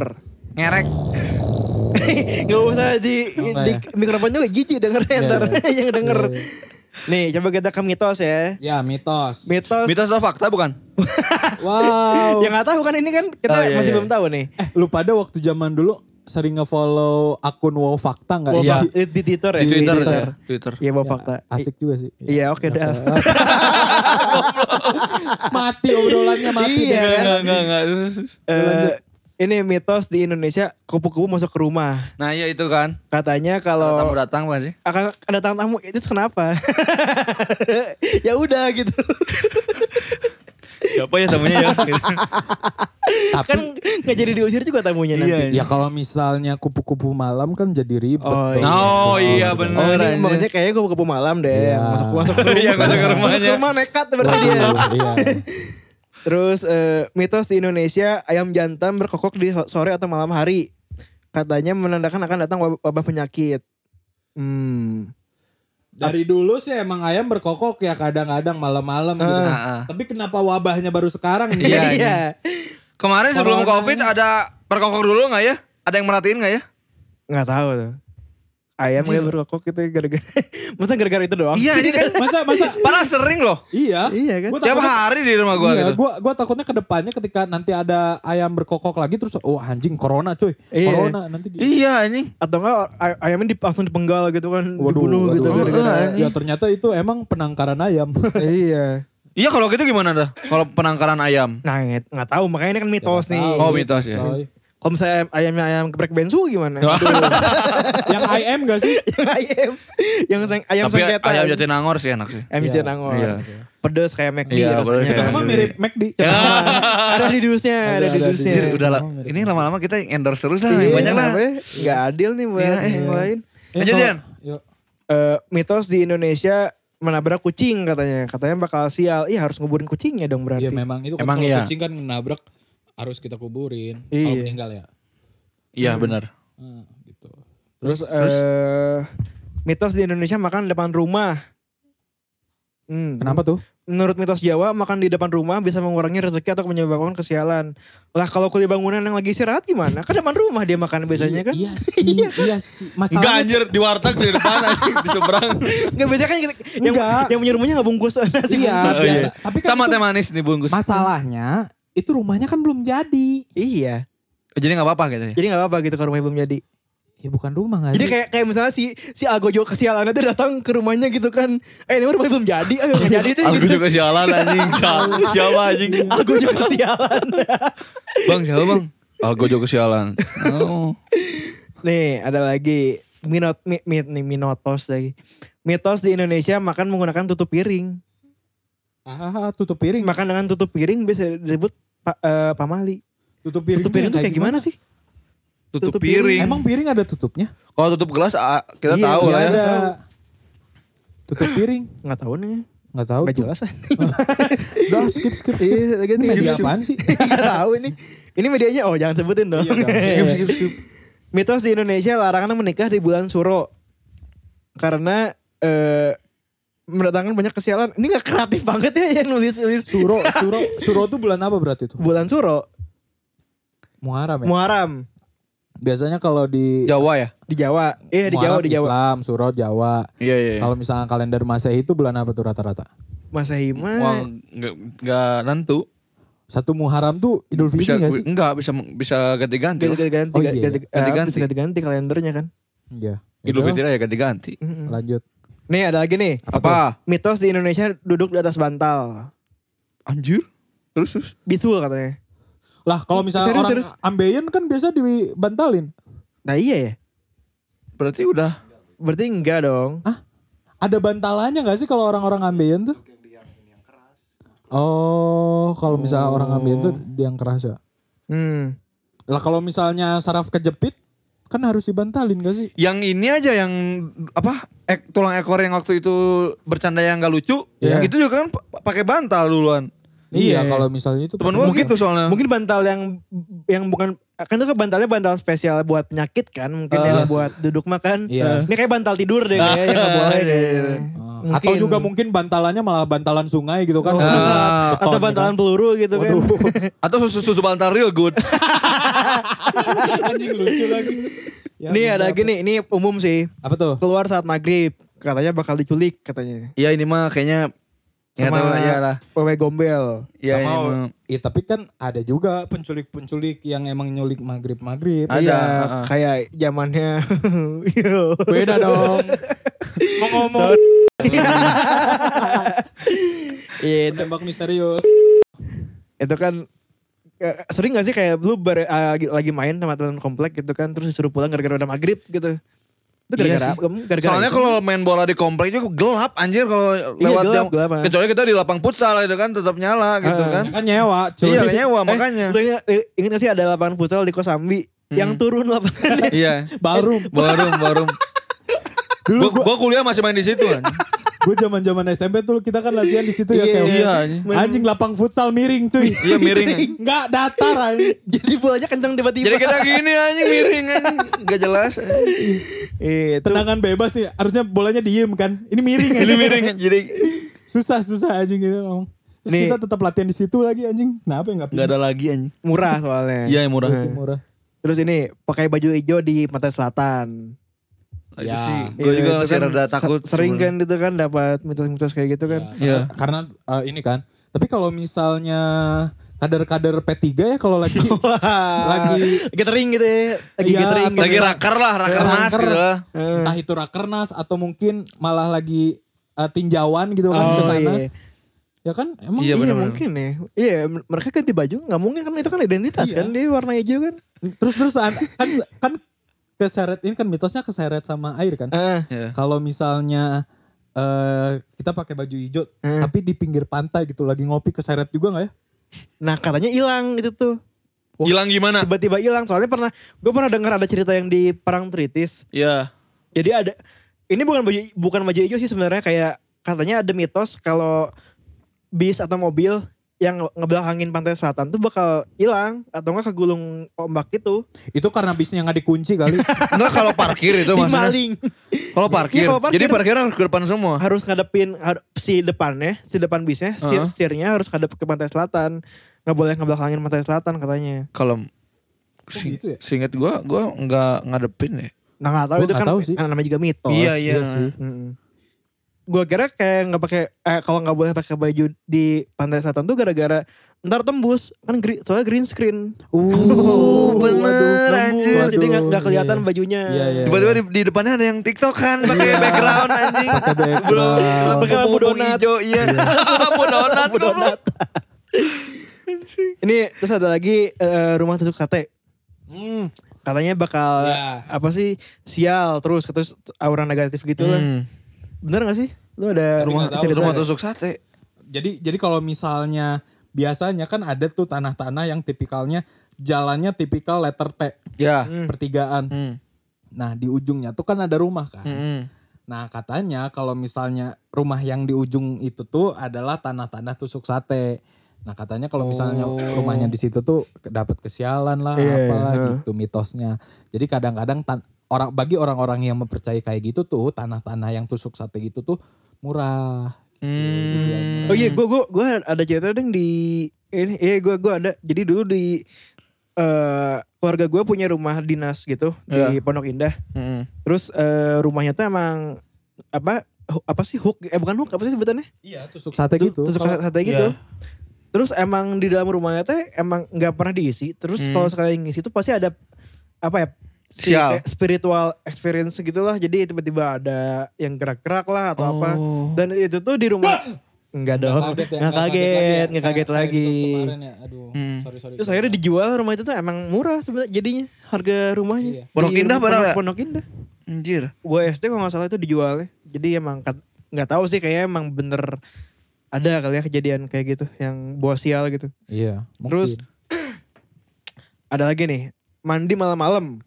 Speaker 3: ya. Ngerek.
Speaker 2: *laughs* Gak usah di,
Speaker 4: Enggak
Speaker 2: di
Speaker 4: ya?
Speaker 2: mikrofon juga jijik dengernya
Speaker 4: Iya,
Speaker 2: ntar *laughs*
Speaker 4: iya.
Speaker 2: yang denger.
Speaker 4: Iya, iya.
Speaker 2: Nih coba kita ke mitos ya.
Speaker 4: Ya mitos.
Speaker 2: Mitos.
Speaker 3: Mitos atau fakta bukan?
Speaker 4: wow.
Speaker 2: Ya gak tahu kan ini kan kita
Speaker 3: Oh, iya,
Speaker 2: masih
Speaker 3: iya.
Speaker 2: belum tahu nih.
Speaker 4: eh, lu pada waktu zaman dulu sering ngefollow akun wow fakta nggak?
Speaker 2: Wow,
Speaker 3: Iya.
Speaker 2: Pak, Di, di Twitter ya.
Speaker 3: Di Twitter, ya, Twitter.
Speaker 2: Twitter. Iya bawa fakta.
Speaker 4: Asik juga sih.
Speaker 2: Iya oke dah. *laughs*
Speaker 4: mati obrolannya mati
Speaker 2: Iya,
Speaker 4: deh. kan?
Speaker 3: Enggak enggak enggak.
Speaker 2: Eh,
Speaker 4: lanjut.
Speaker 2: Ini mitos di Indonesia kupu-kupu masuk ke rumah.
Speaker 3: Nah, iya itu kan.
Speaker 2: Katanya
Speaker 3: Kalau
Speaker 2: kalau
Speaker 3: tamu datang bukan sih?
Speaker 2: akan ada tangan tamu itu kenapa? *laughs* ya udah gitu. *laughs*
Speaker 3: Siapa ya tamunya
Speaker 1: *laughs*
Speaker 3: ya?
Speaker 4: Tapi
Speaker 2: kan nggak jadi diusir juga tamunya nanti.
Speaker 4: ya kalau misalnya kupu-kupu malam kan jadi ribet.
Speaker 2: Oh,
Speaker 4: dong. gitu.
Speaker 2: iya.
Speaker 3: oh iya bener.
Speaker 2: Oh ini
Speaker 3: anjir.
Speaker 2: maksudnya kayaknya kupu-kupu malam deh.
Speaker 4: Iya.
Speaker 2: Masuk masuk ke rumah.
Speaker 3: Iya, masuk ke rumahnya.
Speaker 2: Masuk ke rumah nekat berarti
Speaker 4: Waduh,
Speaker 2: dia.
Speaker 4: iya.
Speaker 2: Terus eh, mitos di Indonesia ayam jantan berkokok di ho- sore atau malam hari. Katanya menandakan akan datang wab- wabah penyakit. Hmm.
Speaker 4: Dari dulu sih emang ayam berkokok ya kadang-kadang malam-malam gitu.
Speaker 3: Ah, ah.
Speaker 4: Tapi kenapa wabahnya baru sekarang nih?
Speaker 3: Iya, iya. Kemarin sebelum
Speaker 4: Corona.
Speaker 3: Covid ada perkokok dulu nggak ya? Ada yang merhatiin nggak ya?
Speaker 2: Nggak tahu tuh. Ayam aja berkokok itu gara-gara. *laughs* Masa gara-gara itu doang?
Speaker 3: Iya, ini kan
Speaker 4: Masa masa
Speaker 3: padahal sering loh.
Speaker 4: iya.
Speaker 2: Iya kan?
Speaker 4: Gua
Speaker 3: Tiap
Speaker 4: takutnya-
Speaker 3: hari di rumah gua
Speaker 4: iya,
Speaker 3: gitu.
Speaker 4: gua gua takutnya ke depannya ketika nanti ada ayam berkokok lagi terus oh anjing corona cuy.
Speaker 2: Iya.
Speaker 4: Corona nanti di-
Speaker 3: Iya, anjing.
Speaker 2: Atau enggak ay- ayamnya di, langsung dipenggal gitu kan. dibunuh gitu.
Speaker 4: waduh.
Speaker 2: gara-gara-
Speaker 4: ya ternyata itu emang penangkaran
Speaker 3: *laughs*
Speaker 4: ayam.
Speaker 2: iya.
Speaker 3: Iya kalau gitu gimana dah? Kalau penangkaran ayam.
Speaker 2: Nah nggak nggak tahu makanya ini kan mitos nih.
Speaker 4: tahu.
Speaker 3: Oh mitos ya. *laughs*
Speaker 4: Coy.
Speaker 2: Kalau misalnya ayamnya ayam geprek bensu gimana? *laughs*
Speaker 4: Yang IM gak sih?
Speaker 2: yang ayam. Yang seng, ayam
Speaker 3: Tapi
Speaker 2: sengketa.
Speaker 3: ayam Jatinangor sih enak sih.
Speaker 2: Ayam
Speaker 4: Iya,
Speaker 2: Jatinangor.
Speaker 3: iya.
Speaker 2: Pedes kayak McD
Speaker 3: Iya, Ya, pedes
Speaker 2: rasanya.
Speaker 3: kayak
Speaker 4: Emang mirip McD.
Speaker 2: Ah, ada di dusnya, ada, di
Speaker 4: Ada, ada di
Speaker 2: dusnya. Iya,
Speaker 4: dus.
Speaker 3: Udah lah, ini lama-lama kita endorse terus lah, yang banyak lah. Iya,
Speaker 2: Gak ya? adil nih buat yang lain.
Speaker 4: Eh,
Speaker 3: Lanjut,
Speaker 4: kalau-
Speaker 3: Yan.
Speaker 4: Yuk.
Speaker 2: Eh, mitos di Indonesia menabrak kucing katanya. Katanya bakal sial. Iya harus nguburin kucingnya dong berarti.
Speaker 4: Ya memang itu
Speaker 3: Emang
Speaker 4: kalau
Speaker 3: iya.
Speaker 4: kucing kan nabrak harus kita kuburin kalau
Speaker 2: Iya.
Speaker 4: meninggal ya.
Speaker 3: Iya benar.
Speaker 4: Hmm, gitu.
Speaker 2: Terus, eh, mitos di Indonesia makan depan rumah. Hmm.
Speaker 4: tuh?
Speaker 2: Menurut mitos Jawa, makan di depan rumah bisa mengurangi rezeki atau menyebabkan kesialan. Lah kalau kulit bangunan yang lagi istirahat gimana? Kan depan rumah dia makan biasanya kan?
Speaker 4: Iya sih, iya sih.
Speaker 3: Enggak
Speaker 4: Masalahnya
Speaker 3: anjir di warteg di depan anjing di *laughs* seberang.
Speaker 2: Enggak biasanya kan yang, yang,
Speaker 4: Enggak.
Speaker 2: yang punya rumahnya gak bungkus *laughs* nasi
Speaker 4: iya,
Speaker 2: bungkus.
Speaker 4: biasa.
Speaker 3: iya.
Speaker 4: Tapi kan
Speaker 3: Sama
Speaker 4: itu
Speaker 3: teh manis nih bungkus.
Speaker 4: masalahnya itu rumahnya kan belum jadi.
Speaker 2: Iya.
Speaker 3: Jadi nggak apa-apa gitu ya.
Speaker 2: Jadi gak apa-apa gitu kalau rumahnya belum jadi.
Speaker 4: Ya bukan rumah nggak
Speaker 2: Jadi
Speaker 4: sih?
Speaker 2: kayak kayak misalnya si si Algojo kesialannya tuh datang ke rumahnya gitu kan. Eh ini rumahnya belum jadi, ayo gak jadi deh.
Speaker 3: Aku
Speaker 2: gitu.
Speaker 3: juga sialan *laughs* anjing. Siapa- Siapa anjing?
Speaker 2: Algojo kesialan. *laughs*
Speaker 3: Bang siapa bang? Aku juga sialan. Oh.
Speaker 2: Nih ada lagi minot mi, mi- nih, minotos lagi. Mitos di Indonesia makan menggunakan tutup piring.
Speaker 4: ah, tutup piring.
Speaker 2: Makan dengan tutup piring bisa disebut pa- eh, pamali.
Speaker 4: Tutup piring.
Speaker 2: tutup piring tuh kayak gimana, sih?
Speaker 3: tutup,
Speaker 2: Tutup
Speaker 3: piring.
Speaker 4: Emang piring ada tutupnya?
Speaker 3: kalau tutup gelas ah, kita
Speaker 2: Iya,
Speaker 3: tahu
Speaker 2: Oh,
Speaker 4: Iya
Speaker 3: lah ya.
Speaker 4: ada. Tutup piring.
Speaker 2: Nggak tahu nih.
Speaker 4: Nggak tahu.
Speaker 2: Nggak
Speaker 4: tuh.
Speaker 2: jelas.
Speaker 4: *laughs* Udah skip skip. skip.
Speaker 2: Iya, lagi
Speaker 4: Ini
Speaker 2: skip,
Speaker 4: media
Speaker 2: skip.
Speaker 4: apaan sih?
Speaker 2: *laughs* Nggak tahu ini. Ini medianya oh jangan sebutin dong. *laughs*
Speaker 3: Skip skip skip.
Speaker 2: Mitos di Indonesia larangan menikah di bulan Suro karena eh mendatangkan banyak kesialan. Ini nggak kreatif banget ya yang nulis nulis
Speaker 4: Suro, Suro, Suro tuh bulan apa berarti tuh?
Speaker 2: bulan Suro
Speaker 4: Muharram ya.
Speaker 2: Muharram
Speaker 4: Biasanya kalau di
Speaker 3: Jawa ya?
Speaker 2: di Jawa. Iya di Jawa
Speaker 4: Muharram
Speaker 2: di Jawa.
Speaker 4: Islam, Suro Jawa.
Speaker 3: Iya iya. iya.
Speaker 4: Kalau misalnya kalender Masehi itu bulan apa tuh rata-rata?
Speaker 2: Masehi
Speaker 3: Wah,
Speaker 2: mah
Speaker 3: nggak nggak nentu.
Speaker 4: Satu Muharram tuh Idul
Speaker 3: Bisa
Speaker 4: Fitri gak sih?
Speaker 3: enggak bisa bisa ganti-ganti. lah.
Speaker 2: ganti-ganti
Speaker 4: Oh, iya, iya.
Speaker 2: ganti-ganti
Speaker 3: Ganti-ganti.
Speaker 2: ganti kalendernya kan.
Speaker 4: Iya.
Speaker 3: Idul
Speaker 4: Udah,
Speaker 3: Fitri ya ganti-ganti.
Speaker 4: Lanjut.
Speaker 2: Nih ada lagi nih.
Speaker 3: Apa?
Speaker 2: Mitos di Indonesia duduk di atas bantal.
Speaker 3: Anjir. Terus terus.
Speaker 2: Bisul katanya.
Speaker 4: Lah kalau misalnya
Speaker 2: Serius,
Speaker 4: orang
Speaker 2: serius.
Speaker 4: ambeien kan biasa dibantalin.
Speaker 2: Nah iya ya.
Speaker 3: Berarti udah
Speaker 2: Berarti enggak dong.
Speaker 4: Ah, ada bantalannya gak sih kalau orang-orang ambeien tuh? Oh, kalau misalnya orang ambeien tuh
Speaker 2: Oh.
Speaker 4: yang keras ya.
Speaker 2: Hmm.
Speaker 4: Lah kalau misalnya saraf kejepit kan harus dibantalin gak sih?
Speaker 3: yang ini aja yang apa ek, tulang ekor yang waktu itu bercanda yang nggak lucu
Speaker 4: Iya.
Speaker 3: itu juga kan p- pakai bantal duluan
Speaker 4: Iya, kalau misalnya itu
Speaker 3: temen gue gitu soalnya
Speaker 2: Mungkin bantal yang yang bukan kan itu kan bantalnya bantal spesial buat penyakit kan mungkin ya buat duduk makan.
Speaker 4: Ah.
Speaker 2: Eh,
Speaker 4: Iya. Ah.
Speaker 2: Ini kayak bantal tidur deh kayaknya yang nggak boleh deh. Hmm. Mungkin. Oh.
Speaker 4: Atau juga mungkin bantalannya malah bantalan sungai gitu kan.
Speaker 3: Ah.
Speaker 2: atau bantalan peluru gitu kan. *laughs*
Speaker 4: Waduh,
Speaker 3: atau susu susu bantal real good
Speaker 4: *laughs* anjing lucu lagi. Ya,
Speaker 2: nih ada lagi nih, ini umum sih.
Speaker 4: Apa tuh?
Speaker 2: Keluar saat maghrib, katanya bakal diculik katanya.
Speaker 3: ya ini mah kayaknya nggak
Speaker 2: Sama
Speaker 3: tahu lah, ya lah
Speaker 2: Wewe gombel.
Speaker 3: ya ini
Speaker 4: Sama,
Speaker 3: mah.
Speaker 4: iya tapi kan ada juga penculik-penculik yang emang nyulik maghrib-maghrib.
Speaker 3: Ada,
Speaker 2: Iya,
Speaker 3: heeh.
Speaker 2: kayak zamannya. *laughs* Yo.
Speaker 4: ah.
Speaker 3: *laughs*
Speaker 4: Beda dong. Mau ngomong *laughs*
Speaker 2: Iya, itu-
Speaker 4: tembak misterius.
Speaker 2: itu kan eh, sering gak sih kayak lu ber- eh, lagi main sama teman komplek gitu kan terus disuruh pulang gara-gara udah maghrib gitu itu
Speaker 3: Iya
Speaker 2: gara-gara
Speaker 3: sih.
Speaker 2: apa? Kamu gara-gara
Speaker 3: Soalnya
Speaker 2: itu?
Speaker 3: kalau main bola di komplek juga gelap anjir kalau lewat
Speaker 2: gelap,
Speaker 3: jam-
Speaker 2: gelap, ah.
Speaker 3: kecuali kita di lapang futsal gitu kan tetap nyala gitu kan.
Speaker 4: Kan nyewa, cuy.
Speaker 3: Iya
Speaker 4: *laughs*
Speaker 3: nyewa
Speaker 2: Eh,
Speaker 3: makanya. Hmm.
Speaker 2: lu ingat, eh, ingat gak sih ada lapangan futsal di Kosambi yang turun lapangan
Speaker 3: *laughs* Iya.
Speaker 4: Baru
Speaker 2: *laughs*
Speaker 3: Barum barum.
Speaker 4: dulu
Speaker 3: *laughs* Gua, gua kuliah masih main di situ kan.
Speaker 4: gue zaman-zaman SMP tuh kita kan latihan di situ ya
Speaker 2: Iya,
Speaker 4: kayak
Speaker 3: iya,
Speaker 4: anjing lapang futsal miring cuy.
Speaker 3: Iya miring.
Speaker 4: *laughs* Enggak datar anjing.
Speaker 2: jadi bolanya kenceng tiba-tiba
Speaker 3: Jadi kita gini anjing miring anjing gak jelas.
Speaker 2: Iya, itu
Speaker 4: Tendangan bebas nih, harusnya bolanya diem kan. Ini miring
Speaker 3: *laughs*
Speaker 4: anjing.
Speaker 3: Ini miring jadi
Speaker 4: Susah-susah anjing gitu ngomong. Terus
Speaker 2: Nih.
Speaker 4: kita tetap latihan di situ lagi anjing. Kenapa ya enggak
Speaker 3: nggak ada lagi anjing.
Speaker 2: murah soalnya
Speaker 3: Iya yang murah.
Speaker 4: sih murah.
Speaker 2: terus ini pakai baju hijau di pantai selatan
Speaker 3: Itu
Speaker 4: Ya.
Speaker 3: sih
Speaker 2: Iya,
Speaker 3: gue juga
Speaker 2: itu
Speaker 3: masih
Speaker 2: kan
Speaker 3: rada
Speaker 2: se-
Speaker 3: takut.
Speaker 2: sering
Speaker 3: sebenarnya.
Speaker 2: kan itu kan dapat mitos-mitos kayak gitu kan
Speaker 3: Iya.
Speaker 4: Karena eh, ini kan. Tapi kalau misalnya kader-kader P3 ya kalau lagi Lagi-
Speaker 2: gathering gitu ya lagi
Speaker 4: Iya,
Speaker 2: gathering gitu.
Speaker 3: Lagi rakar lah, rakernas
Speaker 4: Raker.
Speaker 3: gitu lah.
Speaker 4: entah itu rakernas atau mungkin malah lagi eh, tinjauan gitu kan ke
Speaker 2: Oh,
Speaker 4: sana.
Speaker 2: iya.
Speaker 4: Ya kan emang
Speaker 2: Iya,
Speaker 3: Iya, benar-benar.
Speaker 2: mungkin ya. Iya m- mereka ganti baju nggak mungkin kan itu kan identitas
Speaker 3: Iya.
Speaker 2: kan dia warna hijau kan.
Speaker 4: terus terusan kan kan keseret ini kan mitosnya keseret sama air kan.
Speaker 2: Heeh.
Speaker 3: Iya.
Speaker 4: Kalau misalnya eh kita pakai baju hijau tapi di pinggir pantai gitu lagi ngopi keseret juga nggak ya?
Speaker 2: Nah katanya hilang itu tuh.
Speaker 3: Hilang gimana?
Speaker 2: Tiba-tiba hilang soalnya pernah gue pernah dengar ada cerita yang di Parang Tritis.
Speaker 3: Iya.
Speaker 2: Jadi ada ini bukan baju bukan baju hijau sih sebenarnya kayak katanya ada mitos kalau bis atau mobil yang nge- ngebelakangin pantai selatan tuh bakal hilang atau enggak kegulung ombak itu
Speaker 4: Itu karena bisnya nggak dikunci kali.
Speaker 3: Enggak kalau parkir *laughs* itu maksudnya.
Speaker 2: dimaling
Speaker 3: Kalau parkir.
Speaker 2: Iya, kalau parkir.
Speaker 3: Jadi parkir harus ke depan semua.
Speaker 2: harus ngadepin har- si depannya si depan bisnya si
Speaker 3: Heeh.
Speaker 2: setirnya harus ngadep ke pantai selatan nggak boleh ngebelakangin pantai selatan katanya
Speaker 3: Kalau Oh,
Speaker 4: gitu ya?
Speaker 3: Singkat gue, gue nggak ngadepin ya.
Speaker 2: Nah nggak tahu
Speaker 4: Gua
Speaker 2: itu
Speaker 4: nggak
Speaker 2: kan
Speaker 4: tahu sih.
Speaker 2: kan namanya juga mitos.
Speaker 3: Iya, iya.
Speaker 4: sih.
Speaker 2: Mm-mm. Gua kira kayak nggak pakai eh kalau nggak boleh pakai baju di pantai selatan tuh gara-gara ntar tembus kan gri- soalnya green screen.
Speaker 4: Oh, Uh,
Speaker 3: bener, anjir.
Speaker 2: Jadi nggak nggak kelihatan bajunya.
Speaker 4: Iya, iya.
Speaker 3: Tiba-tiba di, di depannya ada yang TikTok kan pakai background anjing.
Speaker 2: *laughs*
Speaker 4: Pakai background.
Speaker 3: Belum
Speaker 2: Pakai lampu
Speaker 3: pupuk
Speaker 2: donat.
Speaker 3: hijau, iya. *laughs* Lampu donat. goblok.
Speaker 2: Ini terus ada lagi eh, rumah tusuk sate. Katanya bakal
Speaker 4: Hmm. Iya.
Speaker 2: apa sih sial terus terus aura negatif gitu lah.
Speaker 3: Hmm.
Speaker 2: Bener gak sih? Lu ada
Speaker 3: Rumah,
Speaker 2: cerita
Speaker 3: rumah
Speaker 2: nggak?
Speaker 3: tusuk sate.
Speaker 4: Jadi jadi kalau misalnya biasanya kan ada tuh tanah-tanah yang tipikalnya jalannya tipikal letter T,
Speaker 3: Ya.
Speaker 4: pertigaan.
Speaker 3: Hmm.
Speaker 4: Nah, di ujungnya tuh kan ada rumah kan.
Speaker 3: Hmm.
Speaker 4: Nah, katanya kalau misalnya rumah yang di ujung itu tuh adalah tanah-tanah tusuk sate. Nah, katanya kalau misalnya rumahnya di situ tuh ke- dapat kesialan lah
Speaker 2: Oh. Iya,
Speaker 4: apalah
Speaker 2: iya.
Speaker 4: gitu mitosnya. Jadi kadang-kadang tan- orang bagi orang-orang yang mempercayai kayak gitu tuh tanah-tanah yang tusuk sate gitu tuh murah. Gitu, dibilangnya.
Speaker 2: Oh iya, gue gua gua ada cerita dong di ini, iya gue gua ada. Jadi dulu di eh keluarga gue punya rumah dinas gitu di Pondok Indah.
Speaker 3: Hmm.
Speaker 2: Terus eh, rumahnya tuh emang apa hu- apa sih hook? Eh bukan hook apa sih sebutannya?
Speaker 4: Iya, tusuk sate gitu.
Speaker 2: Terus
Speaker 4: Kalau-
Speaker 2: sate gitu.
Speaker 3: Iya.
Speaker 2: Terus emang di dalam rumahnya teh emang nggak pernah diisi. Terus
Speaker 3: Hmm.
Speaker 2: kalau sekali ngisi tuh pasti ada apa ya? si-
Speaker 3: Sial.
Speaker 2: kayak spiritual experience gitu lah. Jadi tiba-tiba ada yang gerak-gerak lah atau apa.
Speaker 3: Oh.
Speaker 2: Dan itu tuh di rumah
Speaker 3: Ah!
Speaker 2: enggak dong. Enggak
Speaker 4: ya, lagi ya.
Speaker 2: kaget, enggak kaget
Speaker 4: Kayak- kayak
Speaker 2: lagi. Hmm.
Speaker 4: episode kemarin ya, Aduh, sorry sorry.
Speaker 2: Terus akhirnya dijual rumah itu tuh emang murah sebenarnya jadinya harga
Speaker 4: Iya.
Speaker 2: rumahnya.
Speaker 3: Pondok
Speaker 2: Di
Speaker 3: Indah
Speaker 2: rumah-
Speaker 3: padahal ya?
Speaker 2: Pondok Indah.
Speaker 3: Anjir.
Speaker 2: Gue SD kalau nggak salah itu dijualnya. Jadi emang kat- nggak tahu sih kayaknya emang bener ada kali ya kejadian kayak gitu yang bawa sial gitu.
Speaker 4: Iya. mungkin.
Speaker 2: Terus ada lagi nih mandi malam-malam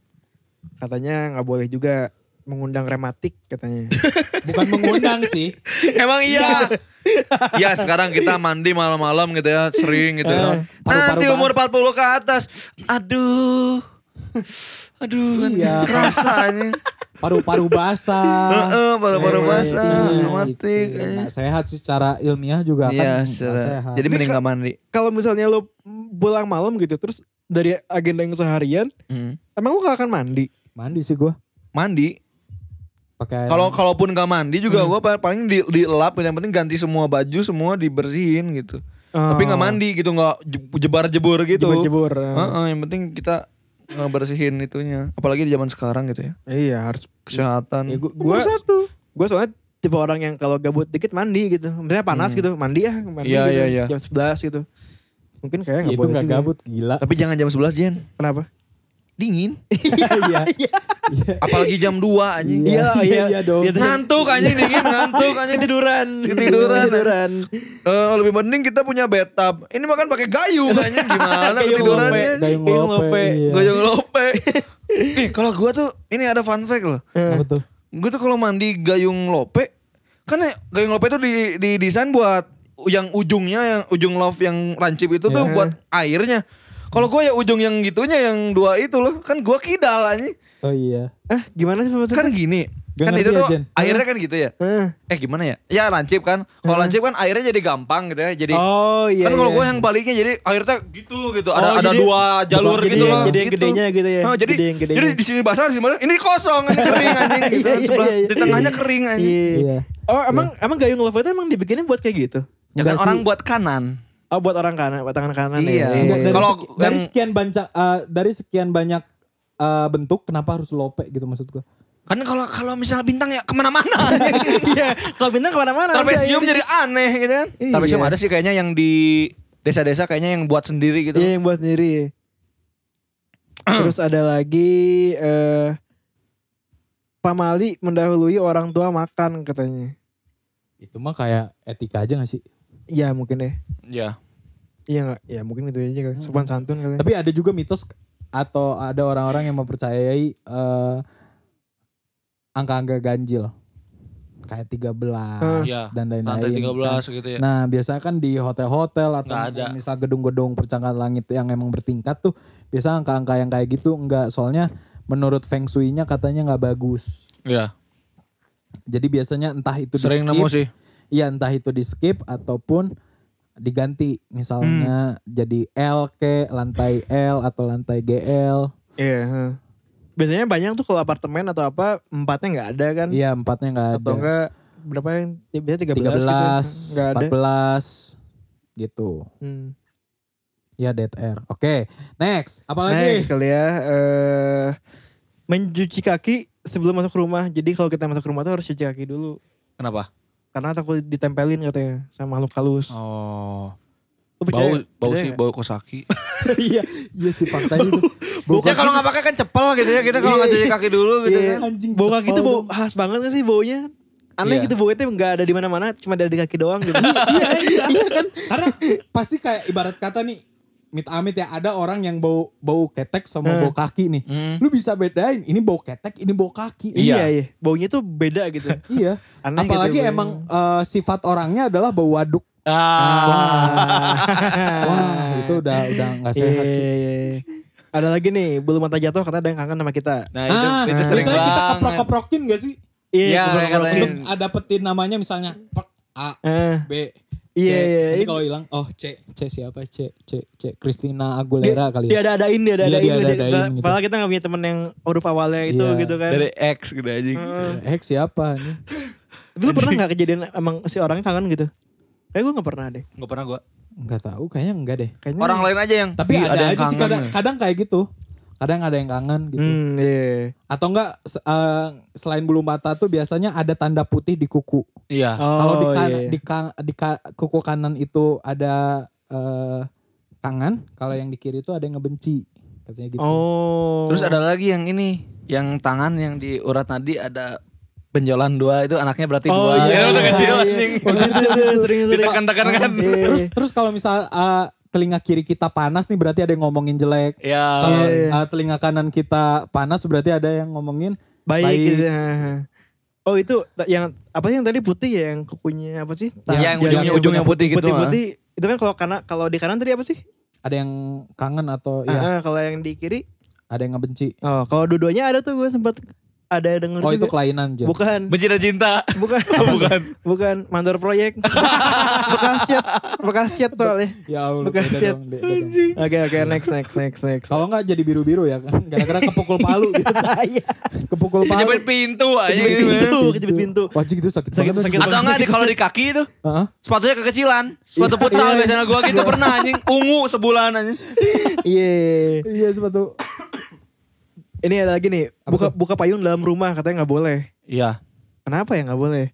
Speaker 2: katanya nggak boleh juga mengundang rematik *laughs* katanya.
Speaker 4: bukan mengundang sih.
Speaker 3: Emang iya. ya sekarang kita mandi malam-malam gitu ya, sering gitu ya.
Speaker 4: Eh, Paru-paru
Speaker 3: Nanti umur 40 ke atas, aduh. Aduh,
Speaker 4: Iya.
Speaker 3: rasanya.
Speaker 4: Paru-paru basah.
Speaker 3: Heeh, paru-paru Eh, basah,
Speaker 4: Iya,
Speaker 3: rematik,
Speaker 4: gitu.
Speaker 3: eh.
Speaker 4: Nggak sehat secara ilmiah juga
Speaker 3: Iya,
Speaker 4: kan. nggak sehat.
Speaker 3: jadi mending gak mandi.
Speaker 2: Kalau misalnya lo pulang malam gitu terus dari agenda yang seharian
Speaker 3: Hmm.
Speaker 2: emang lo gak akan mandi?
Speaker 4: mandi sih gua
Speaker 3: Mandi.
Speaker 4: pakai
Speaker 3: Kalau kalaupun gak mandi juga
Speaker 4: Hmm.
Speaker 3: gua gue paling di, dielap yang penting ganti semua baju semua dibersihin gitu. Tapi
Speaker 4: Oh.
Speaker 3: nggak mandi gitu nggak je- jebar-jebur gitu.
Speaker 2: Jebur-jebur, eh.
Speaker 4: ya.
Speaker 3: Heeh, yang penting kita ngebersihin itunya. Apalagi di zaman sekarang gitu ya.
Speaker 2: Iya harus.
Speaker 3: Kesehatan.
Speaker 2: Ya, gue satu. Gue soalnya tipe orang yang kalau gabut dikit mandi gitu. Misalnya panas gitu mandi ya mandi
Speaker 3: Iya,
Speaker 2: gitu.
Speaker 3: iya, iya.
Speaker 2: Jam 11 gitu. Mungkin kayak nggak
Speaker 4: Ya, itu
Speaker 2: boleh
Speaker 4: nggak
Speaker 2: juga.
Speaker 4: gabut gila.
Speaker 3: Tapi jangan jam 11 Jen.
Speaker 2: Kenapa?
Speaker 3: Dingin. *laughs*
Speaker 4: Iya.
Speaker 3: Apalagi jam 2 anjing.
Speaker 4: Iya, iya, iya dong.
Speaker 3: Ngantuk anjing dingin ngantuk anjing tiduran. Tiduran.
Speaker 2: Tiduran.
Speaker 3: Eh, lebih mending kita punya bathtub. Ini makan pakai gayung anjing gimana
Speaker 2: Gayung
Speaker 3: tidurannya.
Speaker 2: lope.
Speaker 4: Gayung
Speaker 2: Gayung lope.
Speaker 4: lope. Iya.
Speaker 3: Gayung *laughs* lope. Nih, kalau gua tuh ini ada fun fact loh.
Speaker 4: Apa tuh?
Speaker 3: Gue tuh kalau mandi gayung lope, kan ya, gayung lope tuh di, di desain buat yang ujungnya, yang ujung love yang rancip itu tuh buat airnya. Kalau gue ya ujung yang gitunya yang dua itu loh, kan gue kidal anjing.
Speaker 4: Oh iya.
Speaker 2: Ah gimana sih maksudnya?
Speaker 3: Kan gini, kan
Speaker 4: Gak
Speaker 3: itu
Speaker 4: ngerti ya,
Speaker 3: tuh
Speaker 4: Jen.
Speaker 3: airnya kan gitu ya.
Speaker 2: Heeh.
Speaker 3: Eh gimana ya? Ya lancip kan. Kalau lancip kan airnya jadi gampang gitu ya. Jadi
Speaker 2: Oh iya.
Speaker 3: kan kalau
Speaker 2: iya.
Speaker 3: gue yang baliknya jadi akhirnya gitu gitu ada
Speaker 2: Oh,
Speaker 3: ada
Speaker 2: jadi-
Speaker 3: dua jalur
Speaker 2: jadi
Speaker 3: gitu
Speaker 2: yang-
Speaker 3: loh
Speaker 2: jadi yang gedenya gitu ya,
Speaker 3: Ah, jadi
Speaker 2: gede yang gedenya.
Speaker 3: jadi di sini basah di sini basah. ini kosong ini kering anjing
Speaker 2: *laughs*
Speaker 3: gitu
Speaker 2: Iya, iya,
Speaker 3: sebelah
Speaker 2: iya, iya.
Speaker 3: di tengahnya kering anjing
Speaker 4: Iya.
Speaker 2: Oh emang emang gayung love itu emang dibikinnya buat kayak gitu?
Speaker 3: ya kan orang buat kanan
Speaker 2: Oh buat orang kanan, buat tangan kanan
Speaker 3: Iya.
Speaker 2: ya.
Speaker 4: Enggak, dari,
Speaker 3: Kalau
Speaker 4: seki- dari
Speaker 3: yang-
Speaker 4: sekian banyak eh, dari sekian banyak eh, bentuk kenapa harus lope gitu maksud gua.
Speaker 3: kan kalau kalau misalnya bintang ya
Speaker 2: *laughs*
Speaker 3: kemana-mana anjing.
Speaker 2: Iya. Kalau bintang kemana-mana.
Speaker 3: trapesium jadi aneh gitu kan
Speaker 2: Iya.
Speaker 3: trapesium ada sih kayaknya yang di desa-desa kayaknya yang buat sendiri gitu
Speaker 2: Iya yang buat sendiri.
Speaker 3: *clears throat*
Speaker 2: Terus ada lagi eh pamali mendahului orang tua makan katanya.
Speaker 4: Itu mah kayak etika aja gak sih?
Speaker 2: Ya mungkin deh.
Speaker 3: ya
Speaker 2: Iya nggak? Ya mungkin gitu aja kali. Sopan santun kali.
Speaker 4: Tapi ada juga mitos atau ada orang-orang yang mempercayai eh, angka-angka ganjil. Kayak 13
Speaker 3: Iya,
Speaker 4: dan lain-lain.
Speaker 3: gitu ya
Speaker 4: Nah, biasanya kan di hotel-hotel atau
Speaker 3: Nggak ada.
Speaker 4: misal gedung-gedung percangkat langit yang emang bertingkat tuh biasa angka-angka yang kayak gitu enggak soalnya menurut feng shui-nya katanya nggak bagus.
Speaker 3: ya
Speaker 4: Jadi biasanya entah itu di skip,
Speaker 3: sih
Speaker 4: Iya entah itu di skip ataupun diganti
Speaker 2: Hmm.
Speaker 4: misalnya jadi L ke lantai L atau lantai GL.
Speaker 2: Iya. heeh. Biasanya banyak tuh kalau apartemen atau apa empatnya nggak ada kan?
Speaker 4: Iya empatnya nggak ada.
Speaker 2: Atau enggak berapa yang ya, biasanya 13,
Speaker 4: 13,
Speaker 2: gitu. Nggak ada.
Speaker 4: 14 gitu.
Speaker 2: Hmm.
Speaker 4: Ya dead air. Oke, next. Apalagi?
Speaker 2: Next kali ya. eh mencuci kaki sebelum masuk rumah. Jadi kalau kita masuk rumah tuh harus cuci kaki dulu.
Speaker 3: kenapa
Speaker 2: Karena takut ditempelin katanya sama makhluk halus.
Speaker 3: oh
Speaker 2: Lu percaya nggak? Percaya nggak?
Speaker 3: bau kosaki
Speaker 4: *laughs* Iya, iya sih
Speaker 2: *laughs*
Speaker 4: faktanya itu.
Speaker 3: Ya kalau nggak pakai kan cepel gitu ya kita kalau nggak cuci kaki dulu gitu
Speaker 4: Iya.
Speaker 3: kan.
Speaker 4: Anjing
Speaker 2: Bau kaki
Speaker 4: cepol
Speaker 2: tuh bau
Speaker 4: dong.
Speaker 2: khas banget gak sih baunya? Aneh
Speaker 3: Iya.
Speaker 2: gitu baunya tuh gak ada di mana mana cuma ada di kaki doang gitu.
Speaker 4: Iya, iya, iya kan. Karena pasti kayak ibarat kata nih mit amit ya ada orang yang bau bau ketek sama
Speaker 2: Hmm.
Speaker 4: bau kaki nih. Lu bisa bedain ini bau ketek, ini bau kaki.
Speaker 2: Iya, iya. Baunya tuh beda gitu.
Speaker 4: Iya.
Speaker 2: Aneh
Speaker 4: Apalagi
Speaker 2: gitu,
Speaker 4: emang eh, sifat orangnya adalah bau waduk. Ah.
Speaker 2: Ah.
Speaker 4: Wah, itu udah udah nggak
Speaker 2: Iya,
Speaker 4: sehat
Speaker 2: iya,
Speaker 4: sih.
Speaker 2: iya. Ada lagi nih, belum mata jatuh kata ada yang kangen sama kita. Iya,
Speaker 3: Nah itu,
Speaker 4: Ah,
Speaker 3: itu sering
Speaker 4: biasanya kita
Speaker 3: banget.
Speaker 4: keprok-keprokin gak sih?
Speaker 3: Iya,
Speaker 2: keprok-keprok.
Speaker 3: kayak-
Speaker 4: Untuk ada petin namanya misalnya pek, A,
Speaker 2: Eh,
Speaker 4: B, C.
Speaker 2: Iya, iya,
Speaker 4: Nanti
Speaker 2: iya.
Speaker 4: kalau hilang, oh C, C siapa? C, C, C. Christina Aguilera kali
Speaker 2: dia
Speaker 4: ya.
Speaker 2: ada adain dia ada
Speaker 4: Iya,
Speaker 2: adain.
Speaker 4: dia ada-adain gitu.
Speaker 2: Nah, Padahal kita gak punya temen yang huruf awalnya itu
Speaker 4: Iya.
Speaker 2: gitu kan.
Speaker 3: dari X gitu anjing.
Speaker 4: Hmm. Hex Eh, siapa nih?
Speaker 2: Tapi lu
Speaker 3: *laughs*
Speaker 2: pernah gak kejadian emang si orangnya kangen gitu? Kayak gue gak pernah deh.
Speaker 3: Gak pernah gua.
Speaker 4: Enggak tahu, kayaknya enggak deh.
Speaker 2: Kayaknya.
Speaker 3: Orang lain aja yang
Speaker 4: Tapi
Speaker 3: "Ih,
Speaker 4: ada,
Speaker 3: yang
Speaker 4: aja sih
Speaker 3: kangen
Speaker 4: kadang,
Speaker 3: ya."
Speaker 4: kadang kayak gitu. Kadang ada yang kangen gitu.
Speaker 2: Hmm, iya.
Speaker 4: Atau enggak se- eh, selain bulu mata tuh biasanya ada tanda putih di kuku.
Speaker 3: Iya.
Speaker 2: Oh,
Speaker 4: Kalau di, kan,
Speaker 2: iya, iya.
Speaker 4: di, ka- di ka- kuku kanan itu ada eh, tangan, kalau yang di kiri itu ada yang ngebenci. Katanya gitu.
Speaker 2: Oh.
Speaker 3: Terus ada lagi yang ini, yang tangan yang di urat nadi ada benjolan dua itu anaknya berarti
Speaker 2: Oh
Speaker 3: dua.
Speaker 2: iya.
Speaker 3: Itu kecil
Speaker 2: Iya,
Speaker 3: anjing.
Speaker 2: iya. Oh, gitu, gitu, sering, sering.
Speaker 3: Ditekan-tekan kan.
Speaker 2: Iya, iya.
Speaker 4: Terus terus kalau misal eh, telinga kiri kita panas nih berarti ada yang ngomongin jelek.
Speaker 3: Ya.
Speaker 4: Kalau
Speaker 2: Iya, iya.
Speaker 4: eh, telinga kanan kita panas berarti ada yang ngomongin
Speaker 2: baik, gitu. Ha, ha. Oh itu ta- yang apa sih yang tadi putih ya yang kukunya apa sih? Ta-
Speaker 3: Iya, yang
Speaker 2: jari-
Speaker 3: ujungnya- ujungnya putih gitu,
Speaker 2: Putih putih
Speaker 4: ah.
Speaker 2: itu kan kalau kanan kalau di kanan tadi apa sih?
Speaker 4: ada yang kangen atau
Speaker 2: Ah,
Speaker 4: ya
Speaker 2: ah, kalau yang di kiri,
Speaker 4: ada yang ngebenci.
Speaker 2: oh kalau dua-duanya ada tuh gue sempat ada denger
Speaker 4: Oh itu Oh,
Speaker 2: juga.
Speaker 4: kelainan aja. *laughs*
Speaker 2: Bukan,
Speaker 3: Benci dan cinta.
Speaker 2: bukan, bukan, *laughs* bukan mandor
Speaker 4: *laughs*
Speaker 2: proyek. bekas chat, bekas chat soalnya.
Speaker 4: Ya Allah,
Speaker 2: Bukan,
Speaker 4: beda
Speaker 2: shit.
Speaker 4: dong, Oh. beda dong.
Speaker 2: Oke oke next next next next.
Speaker 4: Kalau nggak jadi biru-biru ya kan. Gara-gara kepukul
Speaker 3: *laughs*
Speaker 4: palu biasa.
Speaker 2: Iya.
Speaker 4: Kepukul palu.
Speaker 3: Kejepit pintu anjing.
Speaker 2: Kejepit pintu, kejepit pintu.
Speaker 4: Wajib itu sakit,
Speaker 2: Sakit-
Speaker 4: banget.
Speaker 2: sakit
Speaker 4: anjing.
Speaker 3: Atau enggak di kalau di kaki itu
Speaker 4: Heeh.
Speaker 3: sepatunya kekecilan.
Speaker 4: Iya.
Speaker 3: Sepatu futsal biasanya gua gitu pernah anjing ungu sebulan anjing.
Speaker 2: Iya.
Speaker 4: Iya sepatu.
Speaker 2: Ini ada lagi nih, buka buka payung dalam rumah katanya nggak boleh.
Speaker 3: Iya.
Speaker 2: Kenapa ya nggak boleh?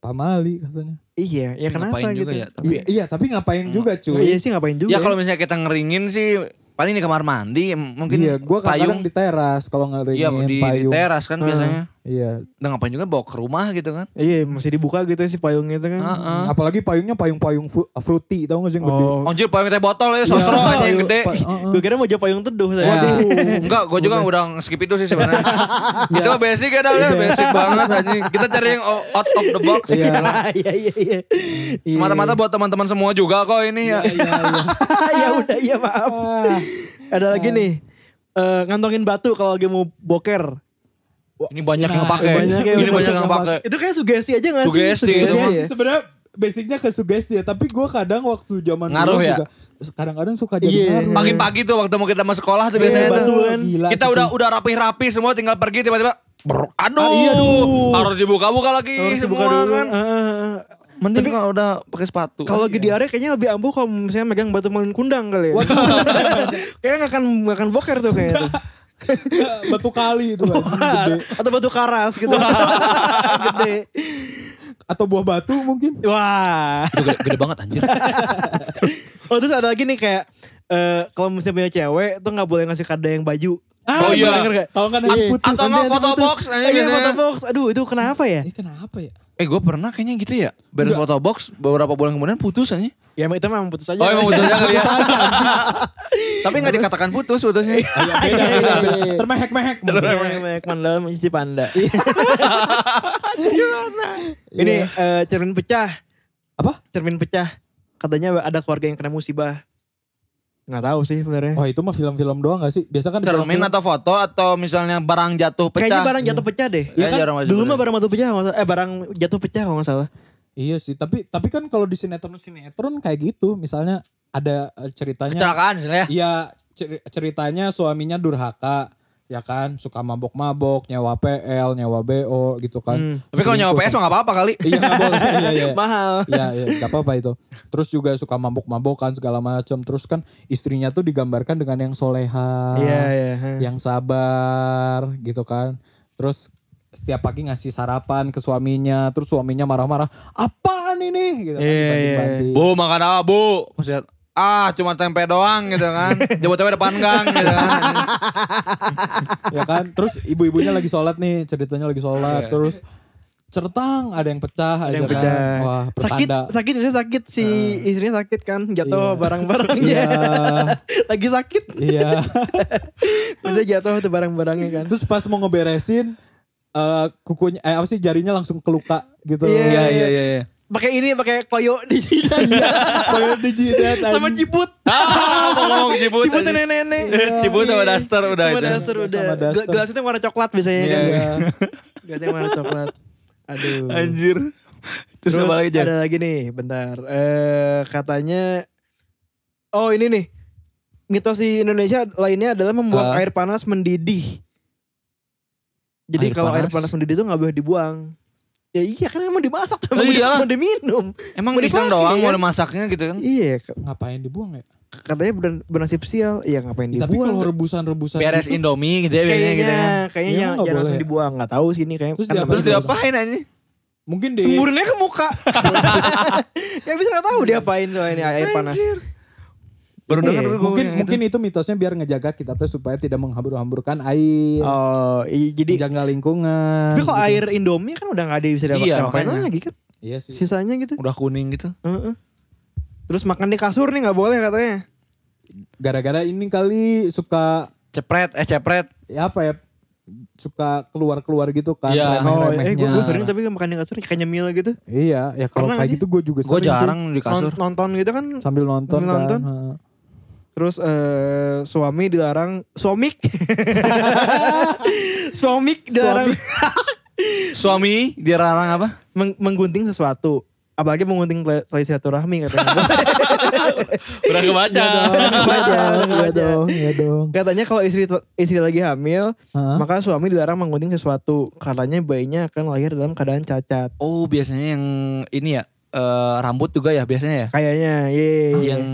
Speaker 4: Pamali katanya.
Speaker 2: Iya, ya kenapa
Speaker 3: Ngapain
Speaker 2: gitu?
Speaker 3: juga ya. Tapi
Speaker 4: Iya, iya, tapi ngapain
Speaker 3: Hmm.
Speaker 4: juga
Speaker 2: Oh,
Speaker 4: cuy.
Speaker 2: iya sih ngapain juga?
Speaker 3: Ya kalau misalnya kita ngeringin sih paling di kamar mandi m- mungkin
Speaker 4: Iya, gua
Speaker 3: payung.
Speaker 4: kadang di teras kalau ngeringin
Speaker 3: Iya di, di
Speaker 4: payung.
Speaker 3: teras kan biasanya.
Speaker 4: Iya,
Speaker 3: Udah ngapain juga bawa ke rumah gitu kan.
Speaker 2: Iya masih dibuka gitu sih payungnya itu kan.
Speaker 3: Heeh.
Speaker 4: Apalagi payungnya payung-payung fu- fruity tau gak sih yang gede.
Speaker 2: Oh,
Speaker 3: Anjir payung teh botol ya sosro aja
Speaker 4: Iya,
Speaker 3: yang
Speaker 4: payung-
Speaker 3: gede.
Speaker 4: pa- uh-uh.
Speaker 2: gue kira mau jawab payung teduh tadi.
Speaker 3: Ya. Enggak, gue juga udah skip itu sih
Speaker 4: *laughs*
Speaker 3: sebenarnya. itu mah basic ya, dah, ya,
Speaker 4: Iya.
Speaker 3: basic banget anjing. Kita cari yang o- out of the box.
Speaker 2: *laughs* Iya iya iya. Iya.
Speaker 3: Semata-mata buat teman-teman semua juga kok ini
Speaker 4: Iya.
Speaker 3: ya.
Speaker 2: *laughs*
Speaker 3: *laughs*
Speaker 2: ya udah iya maaf.
Speaker 3: Ah.
Speaker 2: Ada lagi nih. eh, ngantongin batu kalau lagi mau boker.
Speaker 3: Ini banyak yang
Speaker 4: Nah,
Speaker 3: pakai.
Speaker 2: banyak yang-
Speaker 3: Ini banyak yang pakai.
Speaker 4: Iya.
Speaker 2: Itu kayak sugesti aja gak sih?
Speaker 3: Sugesti itu
Speaker 4: Sugesti,
Speaker 2: ya?
Speaker 4: sebenarnya basicnya ke sugesti ya, tapi gue kadang waktu zaman
Speaker 3: Ngaruh
Speaker 4: dulu
Speaker 3: ya?
Speaker 4: juga kadang-kadang suka jadi
Speaker 2: Iya.
Speaker 4: ngaruh.
Speaker 3: Pagi-pagi tuh waktu mau kita masuk sekolah tuh
Speaker 4: Iya,
Speaker 3: biasanya
Speaker 2: Iya,
Speaker 3: tuh.
Speaker 2: batu kan.
Speaker 4: Gila
Speaker 3: Kita
Speaker 4: sih,
Speaker 3: udah
Speaker 4: cuy.
Speaker 3: udah rapi-rapi semua tinggal pergi tiba-tiba. brr, Aduh, harus dibuka-buka lagi
Speaker 2: Harus dibuka
Speaker 3: semua
Speaker 2: dulu.
Speaker 3: kan.
Speaker 2: Ah, ah, ah.
Speaker 3: Mending kalau udah pakai sepatu. Iya.
Speaker 2: Kalau lagi diare kayaknya lebih ampuh kalau misalnya megang batu malin kundang kali ya. *laughs* kayaknya gak akan, nggak akan boker tuh kayaknya.
Speaker 3: *laughs*
Speaker 2: tuh.
Speaker 4: *laughs* batu kali itu kan, gede.
Speaker 2: Atau batu karas gitu. Gede.
Speaker 4: Atau buah batu mungkin.
Speaker 2: Wah.
Speaker 3: Itu gede, gede banget anjir.
Speaker 2: Oh terus ada lagi nih kayak eh kalau misalnya punya cewek tuh nggak boleh ngasih kado yang baju.
Speaker 3: Oh iya.
Speaker 2: Denger nggak?
Speaker 4: Kalau kan nanti
Speaker 2: Iya.
Speaker 4: putus.
Speaker 3: Atau nggak
Speaker 4: nanti
Speaker 3: foto
Speaker 4: putus.
Speaker 3: box
Speaker 2: Eh,
Speaker 3: anjing
Speaker 2: Iya
Speaker 3: biasanya.
Speaker 2: foto box. Aduh itu kenapa ya?
Speaker 4: Ini kenapa ya?
Speaker 3: Eh gue pernah kayaknya gitu ya Beres foto box beberapa bulan kemudian putus aja
Speaker 2: Ya emang itu memang putus aja.
Speaker 3: Oh emang
Speaker 2: *laughs*
Speaker 3: putus aja kali ya *laughs* Tapi gak dikatakan putus putusnya
Speaker 4: Beda, beda, beda. Termehek-mehek. mungkin.
Speaker 3: Iya.
Speaker 2: Banyak mandal mencuci
Speaker 3: *laughs*
Speaker 2: panda. Ini
Speaker 3: Iya.
Speaker 2: eh, cermin pecah.
Speaker 4: Apa?
Speaker 2: Cermin pecah. Katanya ada keluarga yang kena musibah. Nggak tahu sih sebenarnya.
Speaker 4: Oh itu mah film-film doang gak sih? Biasa kan di
Speaker 3: Cermin
Speaker 4: film-film-
Speaker 3: atau foto atau misalnya barang jatuh pecah
Speaker 2: Kayaknya barang jatuh pecah deh.
Speaker 3: Iya kan? jarang aja
Speaker 2: Dulu mah
Speaker 3: pecah.
Speaker 2: barang jatuh pecah, kalau nggak salah. eh barang jatuh pecah kalau nggak salah.
Speaker 4: Iya sih, tapi tapi kan kalau di sinetron-sinetron kayak gitu, misalnya ada eh, ceritanya
Speaker 3: Kecelakaan misalnya ya.
Speaker 4: Iya cer- ceritanya suaminya durhaka ya kan suka mabok-mabok nyewa PL nyewa BO gitu kan
Speaker 3: Tapi kalau nyawa PS mah gak apa-apa kali
Speaker 2: *laughs*
Speaker 4: iya nggak boleh iya iya
Speaker 2: Mahal.
Speaker 4: Iya, iya, nggak apa-apa itu terus juga suka mabok-mabokan segala macam terus kan istrinya tuh digambarkan dengan yang soleha
Speaker 2: Iya, iya.
Speaker 4: yang sabar gitu kan terus setiap pagi ngasih sarapan ke suaminya terus suaminya marah-marah apaan ini gitu kan
Speaker 2: Iya, iya.
Speaker 4: dibanting-banting.
Speaker 3: Bu makan apa bu Pas lihat, Ah cuma tempe doang gitu *laughs* kan Jemput tempe depan gang gitu kan *laughs*
Speaker 4: Iya ya kan terus ibu-ibunya lagi sholat nih ceritanya lagi sholat terus certang, ada yang pecah,
Speaker 2: Iya. Ada
Speaker 4: aja
Speaker 2: yang
Speaker 4: kan.
Speaker 2: beda.
Speaker 4: Wah,
Speaker 2: sakit,
Speaker 4: pertanda.
Speaker 2: sakit misalnya sakit si istrinya sakit kan jatuh
Speaker 4: Iya.
Speaker 2: barang-barangnya.
Speaker 4: Iya,
Speaker 2: *laughs* Lagi sakit,
Speaker 4: iya.
Speaker 2: bisa jatuh tuh barang-barangnya kan.
Speaker 4: Terus pas mau ngeberesin eh kukunya eh apa sih jarinya langsung keluka gitu.
Speaker 2: Iya,
Speaker 3: Iya
Speaker 2: iya.
Speaker 3: iya iya.
Speaker 4: *laughs*
Speaker 3: iya.
Speaker 2: Pakai ini pakai koyo di
Speaker 4: Iya.
Speaker 2: jidat
Speaker 4: Koyo dijidat
Speaker 2: sama
Speaker 4: anjing.
Speaker 2: ciput.
Speaker 3: Ah, mau ngomong jibut.
Speaker 2: Ciput
Speaker 3: aja. *laughs*
Speaker 2: nenek-nenek.
Speaker 3: Ciput Iya, sama daster udah
Speaker 2: Sama
Speaker 3: aja.
Speaker 2: daster udah.
Speaker 4: Sama daster.
Speaker 2: Gla- Gelasnya warna coklat biasanya
Speaker 4: Iya,
Speaker 2: kan.
Speaker 4: iya.
Speaker 2: Gelasnya warna coklat. Aduh.
Speaker 3: Anjir. Terus,
Speaker 2: Terus
Speaker 3: apa lagi Jan?
Speaker 2: ada lagi nih, bentar. Eh katanya Oh, ini nih. Mitos di Indonesia lainnya adalah membuang
Speaker 3: Ah.
Speaker 2: air panas mendidih. Jadi
Speaker 3: Air
Speaker 2: kalau air
Speaker 3: panas?
Speaker 2: panas mendidih itu nggak boleh dibuang. Ya iya kan emang dimasak tuh,
Speaker 3: Oh,
Speaker 2: emang
Speaker 3: iyalah.
Speaker 2: mau diminum.
Speaker 3: Emang
Speaker 2: Mau
Speaker 3: iseng
Speaker 2: dipakai,
Speaker 3: doang
Speaker 2: kan?
Speaker 3: mau masaknya gitu kan.
Speaker 2: Iya, k-
Speaker 4: Ngapain dibuang ya?
Speaker 2: katanya ber- bernasib sial. Iya ngapain
Speaker 4: Tapi kalau
Speaker 2: dibuang?
Speaker 4: rebusan-rebusan
Speaker 3: Beres
Speaker 4: gitu,
Speaker 3: Indomie gitu ya biasanya gitu kan.
Speaker 2: Kayaknya, kayaknya jangan-
Speaker 4: Iya, nggak
Speaker 2: jangan langsung
Speaker 4: boleh.
Speaker 2: dibuang. Nggak tahu sih ini kayaknya.
Speaker 4: Terus
Speaker 2: kan
Speaker 4: diapain?
Speaker 3: Terus
Speaker 2: namanya- *laughs*
Speaker 3: diapain anjing?
Speaker 4: mungkin di
Speaker 3: Semburinnya ke muka.
Speaker 2: Ya bisa nggak tahu diapain soalnya ini air panas.
Speaker 3: Baru
Speaker 2: Iya.
Speaker 3: denger gue
Speaker 4: mungkin
Speaker 3: yang
Speaker 4: mungkin itu mitosnya biar ngejaga kita tuh supaya tidak menghambur-hamburkan air,
Speaker 2: Oh, i- jadi
Speaker 4: menjaga lingkungan.
Speaker 2: Tapi kok
Speaker 4: gitu.
Speaker 2: air Indomie kan udah gak ada yang bisa dapat
Speaker 3: Iya,
Speaker 2: makan
Speaker 3: makanya.
Speaker 2: lagi kan
Speaker 4: Iya sih.
Speaker 2: sisanya gitu.
Speaker 3: udah kuning gitu.
Speaker 2: Heeh. Terus makan di kasur nih nggak boleh katanya.
Speaker 4: Gara-gara ini kali suka
Speaker 3: Cepret, eh cepret.
Speaker 4: ya apa ya suka keluar-keluar gitu kan
Speaker 3: Iya.
Speaker 2: Oh, eh gue
Speaker 4: remeh-remehnya.
Speaker 2: sering tapi makan di kasur kayak nyemil gitu.
Speaker 4: Iya, ya kalau
Speaker 2: Pernah
Speaker 4: kayak
Speaker 2: sih?
Speaker 4: gitu gue juga
Speaker 3: Gue
Speaker 4: sering cuy.
Speaker 3: jarang di kasur.
Speaker 2: Non- Nonton gitu kan.
Speaker 4: sambil nonton
Speaker 2: Sambil
Speaker 4: kan.
Speaker 2: nonton.
Speaker 4: Ha.
Speaker 2: Terus eh, suami dilarang suamik. *laughs* suamik dilarang
Speaker 3: Suami dilarang apa?
Speaker 2: *laughs* meng- menggunting sesuatu. Apalagi menggunting tele- tali silaturahmi katanya.
Speaker 3: Udah kebaca.
Speaker 4: Iya dong, iya dong, iya dong.
Speaker 2: katanya kalau istri istri lagi hamil,
Speaker 4: Hah?
Speaker 2: maka suami dilarang menggunting sesuatu katanya bayinya akan lahir dalam keadaan cacat.
Speaker 3: Oh biasanya yang ini ya eh, rambut juga ya biasanya ya.
Speaker 2: Kayaknya, iya. ye.
Speaker 3: Yang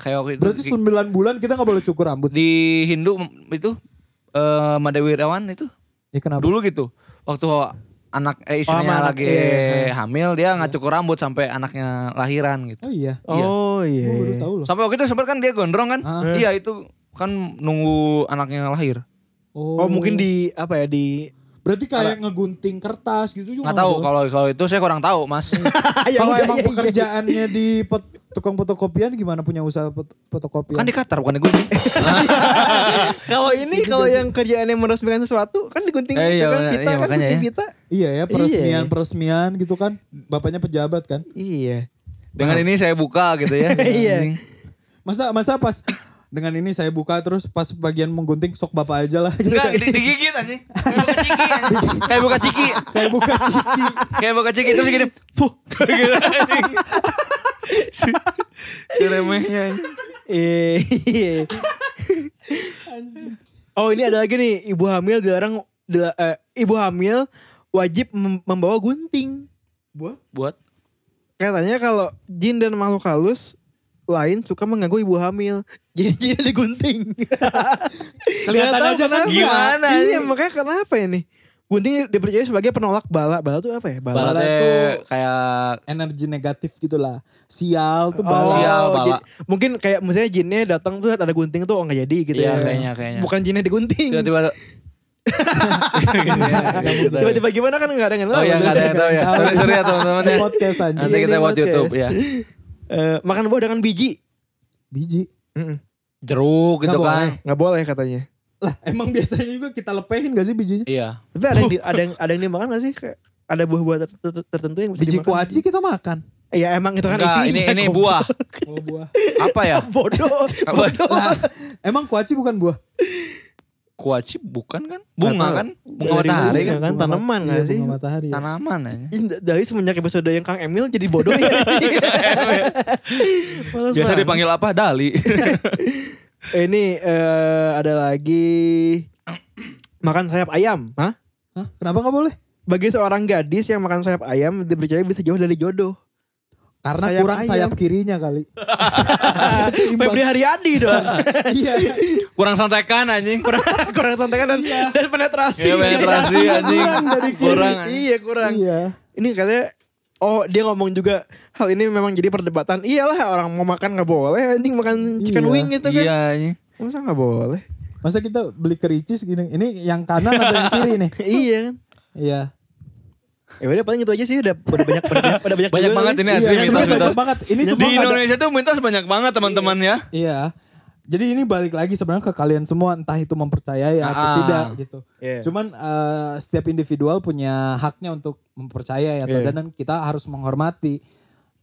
Speaker 3: kayak waktu itu
Speaker 4: Berarti 9 bulan kita nggak boleh cukur rambut.
Speaker 3: di Hindu itu eh Madewi Irawan itu
Speaker 4: Ya kenapa?
Speaker 3: dulu gitu waktu anak eh,
Speaker 2: sama
Speaker 3: istrinya
Speaker 2: anak,
Speaker 3: lagi
Speaker 2: iya.
Speaker 3: hamil dia nggak cukur rambut sampai anaknya lahiran gitu.
Speaker 4: Oh iya.
Speaker 2: Oh iya.
Speaker 4: Gue baru tahu loh.
Speaker 3: Sampai waktu itu sempat kan dia gondrong kan?
Speaker 4: Ah.
Speaker 3: Iya itu kan nunggu anaknya lahir.
Speaker 2: Oh mungkin
Speaker 3: *laughs*
Speaker 2: di apa ya di
Speaker 4: berarti kayak ngegunting kertas gitu juga.
Speaker 3: Nggak tahu
Speaker 4: boleh.
Speaker 3: kalau kalau itu saya kurang tahu mas.
Speaker 4: kalau
Speaker 2: udah, *laughs*
Speaker 4: emang
Speaker 2: iya, iya.
Speaker 4: pekerjaannya di pot- tukang fotokopian gimana punya usaha pot- fotokopian?
Speaker 3: kan di Qatar bukan di gunting.
Speaker 2: kalau ini kalau yang kerjaannya meresmikan sesuatu kan digunting
Speaker 3: Eh,
Speaker 2: gitu
Speaker 3: iya,
Speaker 2: kan
Speaker 3: benar.
Speaker 2: kita
Speaker 3: Iya,
Speaker 2: kan
Speaker 3: makanya
Speaker 2: gunting
Speaker 3: ya.
Speaker 2: kita.
Speaker 4: Iya ya peresmian
Speaker 2: Iya.
Speaker 4: peresmian gitu kan bapaknya pejabat kan
Speaker 2: Iya.
Speaker 3: Dengan ini saya buka gitu ya.
Speaker 2: *laughs* Iya.
Speaker 4: masa masa pas dengan ini saya buka terus pas bagian menggunting sok bapak aja lah gitu
Speaker 3: Enggak
Speaker 4: kan.
Speaker 3: di- digigit anjing. Kayak buka ciki. anjing. Kayak buka ciki.
Speaker 4: kayak buka ciki
Speaker 3: Kayak buka ciki terus gini. Puh. Gitu, anjing. si, si remehnya. anjing.
Speaker 2: Iya. oh ini ada lagi nih ibu hamil dilarang dila- eh, ibu hamil wajib mem- membawa gunting.
Speaker 4: buat
Speaker 3: Buat
Speaker 2: Katanya kalau jin dan makhluk halus lain suka mengganggu ibu hamil. Jadi jin digunting.
Speaker 4: Kelihatan
Speaker 2: Nggak
Speaker 4: aja
Speaker 2: tahu
Speaker 4: kan
Speaker 2: kenapa.
Speaker 3: gimana
Speaker 2: Iya,
Speaker 3: sih?
Speaker 2: makanya kenapa ini? Gunting dipercaya sebagai penolak bala. Bala tuh apa ya? Bala.
Speaker 3: balatnya
Speaker 4: tuh-
Speaker 3: kayak
Speaker 4: energi negatif gitulah sial
Speaker 2: Oh,
Speaker 4: tuh bala
Speaker 3: Sial. bala.
Speaker 2: jadi- mungkin kayak misalnya jinnya datang tuh ada gunting tuh oh nggak jadi gitu
Speaker 3: Iya,
Speaker 2: ya.
Speaker 3: kayaknya, kayaknya.
Speaker 2: Bukan jinnya digunting.
Speaker 3: tiba-tiba iya,
Speaker 2: Tiba-tiba gimana kan nggak ada yang
Speaker 3: Oh
Speaker 2: tahu.
Speaker 3: ya nggak ada yang tahu ya. Sorry sorry ya teman-teman ya.
Speaker 4: kan? podcast
Speaker 3: Nanti
Speaker 4: anjing
Speaker 3: kita
Speaker 2: Ini
Speaker 3: buat
Speaker 2: podcast.
Speaker 3: YouTube ya.
Speaker 2: Eh, makan buah dengan biji.
Speaker 4: biji
Speaker 3: Jeruk gitu
Speaker 4: Nggak
Speaker 3: kan.
Speaker 2: Nggak boleh katanya.
Speaker 4: lah *laughs* emang biasanya juga kita lepehin gak sih bijinya
Speaker 3: Iya.
Speaker 2: Tapi ada
Speaker 4: *laughs*
Speaker 2: yang di- ada yang ada yang dimakan nggak sih? Kayak ada buah-buah ter- ter- tertentu yang bisa
Speaker 4: biji
Speaker 2: dimakan.
Speaker 4: kuaci kita makan
Speaker 2: Iya emang itu kan
Speaker 3: Enggak, ini ini buah.
Speaker 4: oh buah
Speaker 3: Apa ya?
Speaker 2: *laughs* Bodoh. Bodoh.
Speaker 3: *laughs*
Speaker 4: lah *laughs* emang kuaci bukan buah
Speaker 3: Kuaci bukan kan? Bunga
Speaker 2: Nggak tahu.
Speaker 3: kan? Bunga
Speaker 2: Dari Iya. bunga kan,
Speaker 3: matahari kan?
Speaker 4: Bunga mat-
Speaker 2: tanaman nggak
Speaker 4: iya,
Speaker 2: sih?
Speaker 4: bunga matahari ya.
Speaker 3: Tanaman aja.
Speaker 2: Ih, Dari semenjak episode yang Kang Emil jadi
Speaker 3: *laughs*
Speaker 2: bodoh ya. Males
Speaker 3: ya. Biasa
Speaker 2: banget.
Speaker 3: dipanggil apa? Dali. *laughs*
Speaker 2: Ini eh, ada lagi makan sayap ayam, hah?
Speaker 4: Hah? kenapa gak boleh
Speaker 2: Bagi seorang gadis yang makan sayap ayam dipercaya bisa jauh dari jodoh.
Speaker 4: karena
Speaker 2: Sayap
Speaker 4: kurang
Speaker 2: ayam.
Speaker 4: sayap kirinya kali *laughs* Seimbang.
Speaker 2: Febri Haryadi dong.
Speaker 4: *laughs* iya
Speaker 3: Kurang santekan anjing.
Speaker 2: kurang santekan dan, dan penetrasi.
Speaker 3: Iya penetrasi anjing. *laughs* Kurang. anjing.
Speaker 2: Iya kurang.
Speaker 4: iya
Speaker 2: Ini katanya Oh dia ngomong juga hal ini memang jadi perdebatan. Iyalah orang mau makan nggak boleh anjing makan chicken
Speaker 4: Iya.
Speaker 2: wing gitu kan.
Speaker 3: Iya anjing.
Speaker 2: Masa nggak
Speaker 4: *laughs*
Speaker 2: boleh?
Speaker 4: masa *laughs* kita beli kericis gini ini yang kanan atau yang kiri nih
Speaker 2: iya kan.
Speaker 4: iya
Speaker 2: Ya udah paling itu aja sih udah udah banyak udah, udah banyak
Speaker 3: Banyak
Speaker 2: juga
Speaker 3: banget
Speaker 2: kali.
Speaker 3: ini
Speaker 2: Iya,
Speaker 3: asli
Speaker 4: sebenarnya
Speaker 3: mitos-mitos.
Speaker 4: banyak banget. Ini
Speaker 3: Di
Speaker 4: semua ada-
Speaker 3: Indonesia tuh mitos banyak banget teman-teman ya.
Speaker 4: Iya. Jadi ini balik lagi sebenarnya ke kalian semua entah itu mempercayai atau
Speaker 3: Ah.
Speaker 4: tidak gitu.
Speaker 2: Iya.
Speaker 4: Cuman eh, setiap individual punya haknya untuk mempercayai atau
Speaker 2: Iya.
Speaker 4: dan kita harus menghormati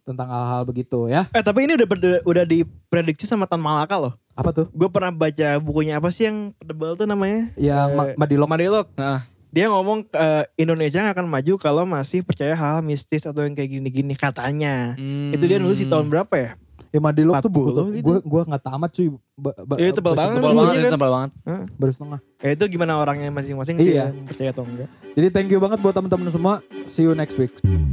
Speaker 4: tentang hal-hal begitu ya.
Speaker 2: Eh tapi ini udah ber- udah diprediksi sama Tan Malaka loh.
Speaker 4: Apa tuh?
Speaker 2: Gue pernah baca bukunya apa sih yang tebal tuh namanya?
Speaker 4: Yang Ya, Ma- Madilog.
Speaker 2: Madilog.
Speaker 3: Nah,
Speaker 2: Dia ngomong eh, Indonesia nggak akan maju kalau masih percaya hal mistis atau yang kayak gini-gini katanya. Itu dia nulis
Speaker 3: Hmm.
Speaker 2: di tahun berapa ya?
Speaker 4: Ya Madilog tuh buku
Speaker 2: 40 gitu.
Speaker 4: gue gue nggak tamat cuy. Ba- ba-
Speaker 2: Iya, tebal
Speaker 4: baca
Speaker 2: banget.
Speaker 3: tebal
Speaker 2: Iya,
Speaker 3: banget,
Speaker 2: kan?
Speaker 3: itu tebal banget.
Speaker 2: Hah?
Speaker 4: Baru setengah.
Speaker 2: Ya itu gimana orangnya masing-masing sih
Speaker 4: Iya.
Speaker 2: yang percaya atau enggak.
Speaker 4: Jadi thank you banget buat teman-teman semua. See you next week.